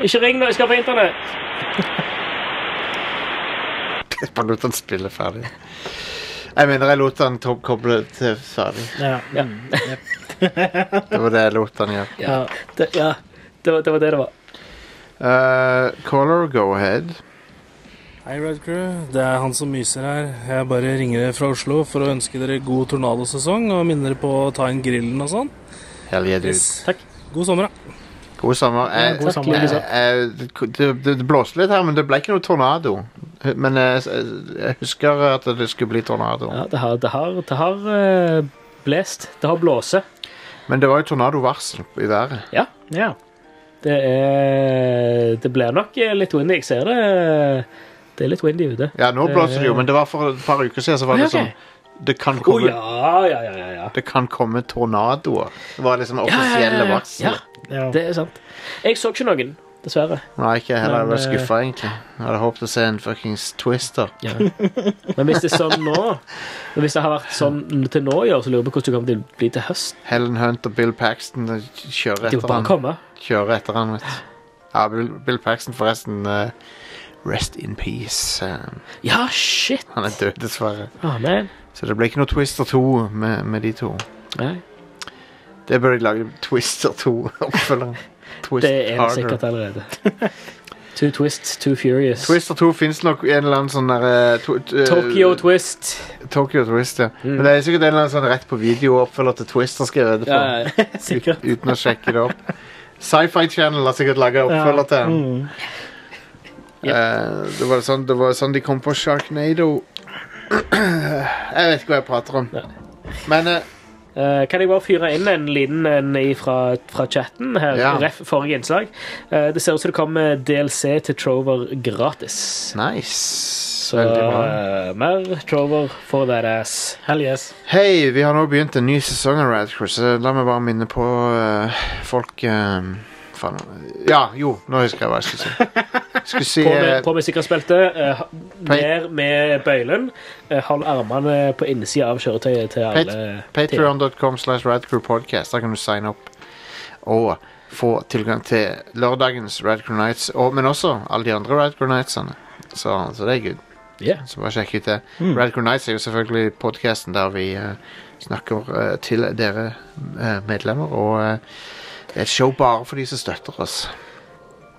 [SPEAKER 2] Ikke ring nå, jeg skal på internett.
[SPEAKER 1] Jeg bare lot han spille ferdig. Jeg mener, jeg lot han to- koble til ferdig.
[SPEAKER 3] Ja. Mm.
[SPEAKER 2] Ja.
[SPEAKER 1] Det var det jeg lot han gjøre.
[SPEAKER 2] Ja, det, ja. Det, var, det var det det var.
[SPEAKER 1] Uh, caller, go ahead.
[SPEAKER 5] Hei, Red Crew. Det er han som myser her. Jeg bare ringer dere fra Oslo for å ønske dere god tornadosesong og minne dere på å ta inn grillen og sånn.
[SPEAKER 1] Hell yeah, dude.
[SPEAKER 2] Takk.
[SPEAKER 5] God sommer, da.
[SPEAKER 1] God sommer. Jeg,
[SPEAKER 3] god sommer.
[SPEAKER 1] jeg, jeg, det, det, det blåste litt her, men det ble ikke noe tornado. Men jeg, jeg- jeg husker at det skulle bli tornado.
[SPEAKER 2] Ja, det har, det har, det har eh, blest. Det har blåse.
[SPEAKER 1] Men det var jo tornadovarsel i været.
[SPEAKER 3] ja.
[SPEAKER 2] Det er Det blir nok eh, litt windy. Jeg ser det. Det er litt windy ute.
[SPEAKER 1] Ja, nå blåser det jo, men det var for et par uker siden så var det
[SPEAKER 2] Ja,
[SPEAKER 1] sånn
[SPEAKER 2] ok.
[SPEAKER 1] Det kan
[SPEAKER 2] Å
[SPEAKER 1] komme,
[SPEAKER 2] ja, ja, ja, ja, ja.
[SPEAKER 1] det kan komme tornadoer. Det var liksom offisielle varsel.
[SPEAKER 2] Ja,
[SPEAKER 3] ja.
[SPEAKER 2] det er sant. Jeg så ikke noen, dessverre.
[SPEAKER 1] Nei, ikke jeg heller. Jeg
[SPEAKER 2] Men, eh,
[SPEAKER 1] var skuffa, egentlig. Jeg hadde håpet å se en fuckings twister.
[SPEAKER 2] Men hvis det er sånn nå men Hvis det har vært sånn til nå i år, så lurer jeg på hvordan det kommer til å bli til høst.
[SPEAKER 1] Helen Hunt og Bill Paxton de kjører
[SPEAKER 2] Det er jo
[SPEAKER 1] etter
[SPEAKER 2] bare å
[SPEAKER 1] han.
[SPEAKER 2] komme.
[SPEAKER 1] kjøre etter han, vet du. Ja, Bill, Bill Paxton forresten eh, Rest in peace. eh,
[SPEAKER 2] Ja, shit!
[SPEAKER 1] han er død, dessverre.
[SPEAKER 2] Ah, man.
[SPEAKER 1] Så det ble ikke noe Twister 2 med, med de to.
[SPEAKER 2] Nei,
[SPEAKER 1] Det burde jeg lage Twister 2 oppfølgeren. Twist
[SPEAKER 2] det er det
[SPEAKER 1] harder.
[SPEAKER 2] sikkert allerede. Two twists, two furious.
[SPEAKER 1] Twister 2 fins nok i en eller annen sånn der eh, to-
[SPEAKER 2] uh,
[SPEAKER 1] eh,
[SPEAKER 2] Tokyo twist.
[SPEAKER 1] Tokyo Twist, ja.
[SPEAKER 2] Mm.
[SPEAKER 1] Men det er sikkert en eller annen sånn rett på video oppfølger til Twister skrevet på.
[SPEAKER 2] Ja, ja,
[SPEAKER 3] Sikkert.
[SPEAKER 1] ut- Uten å sjekke det opp. Sci-Fi Channel har sikkert laga oppfølger til den.
[SPEAKER 3] Mm.
[SPEAKER 1] Eh, det, var sånn, det var sånn de kom på Sharknado. jeg vet ikke hva jeg prater om. Men eh,
[SPEAKER 2] Eh, kan jeg bare fyre inn en liten en i fra, fra chatten? her,
[SPEAKER 1] Ja.
[SPEAKER 2] ref forrige innslag. Eh, det ser ut som det kommer DLC til Trover gratis.
[SPEAKER 1] nice.
[SPEAKER 2] Så
[SPEAKER 1] Veldig bra.
[SPEAKER 2] eh, mer Trover for that ass.
[SPEAKER 3] Hell yes.
[SPEAKER 1] Hei, vi har nå begynt en ny sesong av Radcruise. La meg bare minne på eh, folk eh, faen, Ja, jo, nå husker jeg hva jeg skulle si. Skulle si
[SPEAKER 2] På
[SPEAKER 1] eh,
[SPEAKER 2] med, på med sikkerhetsbeltet. eh, ha-
[SPEAKER 1] Pay-
[SPEAKER 2] ned med bøylen. eh, hold armene på innsida av kjøretøyet til
[SPEAKER 1] Pay-
[SPEAKER 2] alle.
[SPEAKER 1] Patreon.com slash radcrewpodcast. Der kan du signe opp og få tilgang til lørdagens Radcrew Nights, og, men også alle de andre Radcrew Nightsene. Så, så det er good.
[SPEAKER 2] Ja.
[SPEAKER 1] Så bare sjekk ut det. Radcrew Nights er jo selvfølgelig podkasten der vi eh, snakker eh, til dere eh, medlemmer, og eh, det er et show bare for de som støtter oss.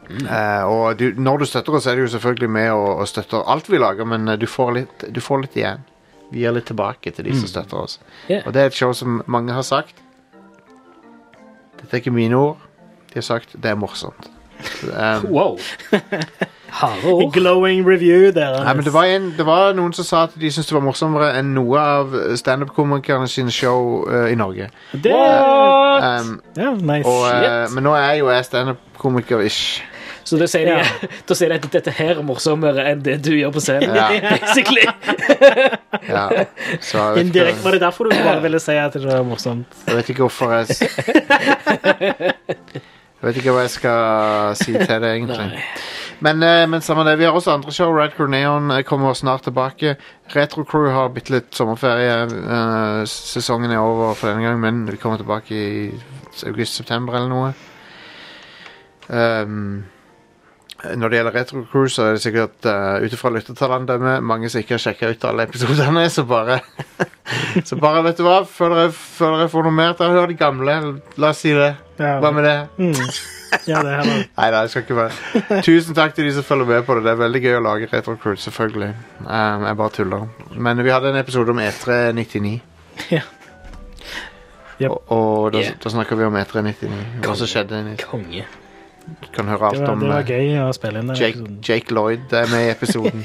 [SPEAKER 1] Eh, og du, når du støtter oss, er du jo selvfølgelig med og, og støtter alt vi lager, men eh, du, får litt, du får litt igjen. Vi gir litt tilbake til de som støtter oss.
[SPEAKER 2] Ja.
[SPEAKER 1] Og det er et show som mange har sagt. Dette er ikke mine ord. De har sagt det er morsomt. Um,
[SPEAKER 2] Wow. Harde ord.
[SPEAKER 3] Glowing review der.
[SPEAKER 1] Nei, men det var, en, det var noen som sa at de syntes det var morsommere enn noe av standup-komikerne sine show eh, i Norge.
[SPEAKER 3] Det-
[SPEAKER 2] What?
[SPEAKER 1] Um,
[SPEAKER 3] ja, nice.
[SPEAKER 1] og, eh,
[SPEAKER 2] Shit.
[SPEAKER 1] men nå er jo jeg standup-komiker-ish.
[SPEAKER 2] Så da sier, de,
[SPEAKER 3] Ja.
[SPEAKER 2] da sier de at dette her er morsommere enn det du gjør på scenen.
[SPEAKER 1] Ja.
[SPEAKER 2] Basically.
[SPEAKER 1] Ja. Så jeg vet,
[SPEAKER 3] Indirekt var
[SPEAKER 1] ikke,
[SPEAKER 3] det derfor du bare ville si at det var morsomt.
[SPEAKER 1] jeg vet ikke hvorfor jeg s- Jeg vet ikke hva jeg skal si til det, egentlig. Men, eh, men samme det, vi har også andre show. Red Crew Neon eh, kommer snart tilbake. Retro Crew har bitte litt sommerferie. eh, sesongen er over for denne gang, men vi kommer tilbake i august-september eller noe. Um, når det gjelder Retro Crew, så er det sikkert uh, ut ifra lyttertallene dømme mange som ikke har sjekka ut alle episodene, så bare Så bare, vet du hva, før dere, før dere får noe mer til å høre de gamle, la oss si det.
[SPEAKER 3] Ja,
[SPEAKER 1] Hva med det?
[SPEAKER 3] mm. ja det er heller.
[SPEAKER 1] Nei da, jeg skal ikke være Tusen takk til de som følger med på det. Det er veldig gøy å lage Retro Crew, selvfølgelig. Um, jeg bare tuller. Men vi hadde en episode om E E399.
[SPEAKER 3] Ja. Yep.
[SPEAKER 1] Og, og da,
[SPEAKER 2] Yeah.
[SPEAKER 1] da snakker vi om E399. Hva som skjedde.
[SPEAKER 2] Konge.
[SPEAKER 1] Du kan høre
[SPEAKER 3] Det
[SPEAKER 1] alt
[SPEAKER 3] var,
[SPEAKER 1] om
[SPEAKER 3] det
[SPEAKER 1] eh,
[SPEAKER 3] var gøy å spille inn den
[SPEAKER 1] Jake,
[SPEAKER 3] episoden.
[SPEAKER 1] Jake Lloyd er med i episoden.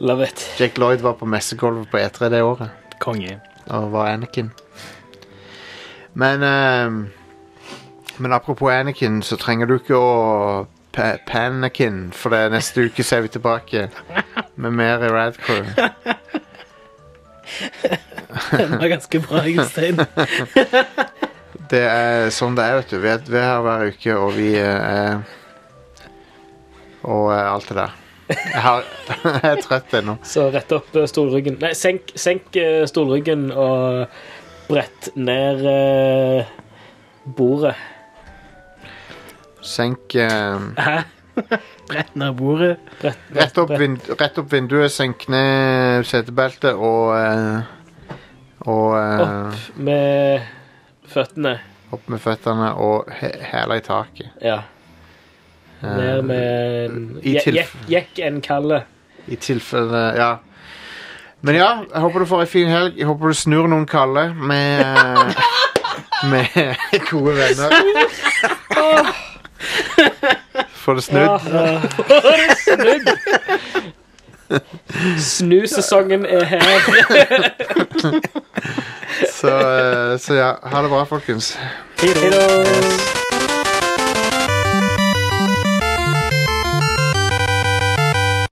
[SPEAKER 2] Love it.
[SPEAKER 1] Jake Lloyd var på messegulvet på E3 det året
[SPEAKER 3] Konge.
[SPEAKER 1] og var Anakin. Men ehm, Men apropos Anakin, så trenger du ikke å pa- panikin, for det er neste uke så er vi tilbake med mer i Radcrew.
[SPEAKER 3] Den var ganske bra, Jostein.
[SPEAKER 1] Det er sånn det er, vet du. Vi er, vi er her hver uke, og vi eh, er Og eh, alt det der. Jeg, har, jeg er trøtt ennå.
[SPEAKER 2] Så rett opp eh, stolryggen. Nei, senk, senk eh, stolryggen og brett ned eh, bordet.
[SPEAKER 1] Senk ehm,
[SPEAKER 3] Brett ned bordet.
[SPEAKER 1] Rett opp, vind, rett opp vinduet, senk ned setebeltet og eh, Og eh,
[SPEAKER 2] Opp med føttene.
[SPEAKER 1] opp med føttene og he hæla i taket.
[SPEAKER 2] Ja.
[SPEAKER 1] Eh,
[SPEAKER 2] Ned med en-
[SPEAKER 1] i
[SPEAKER 2] Je-
[SPEAKER 1] tilf-
[SPEAKER 2] Jekk jekk en kalle.
[SPEAKER 1] Eh, I tilfelle Ja. Men ja, jeg håper du får ei fin helg. Jeg håper du snur noen kalde med eh, Med gode venner. Får det snudd.
[SPEAKER 2] Ah, Snudd! Snusesongen er her.
[SPEAKER 1] Så, eh, så ja. Ha det bra, folkens.
[SPEAKER 2] Hei da.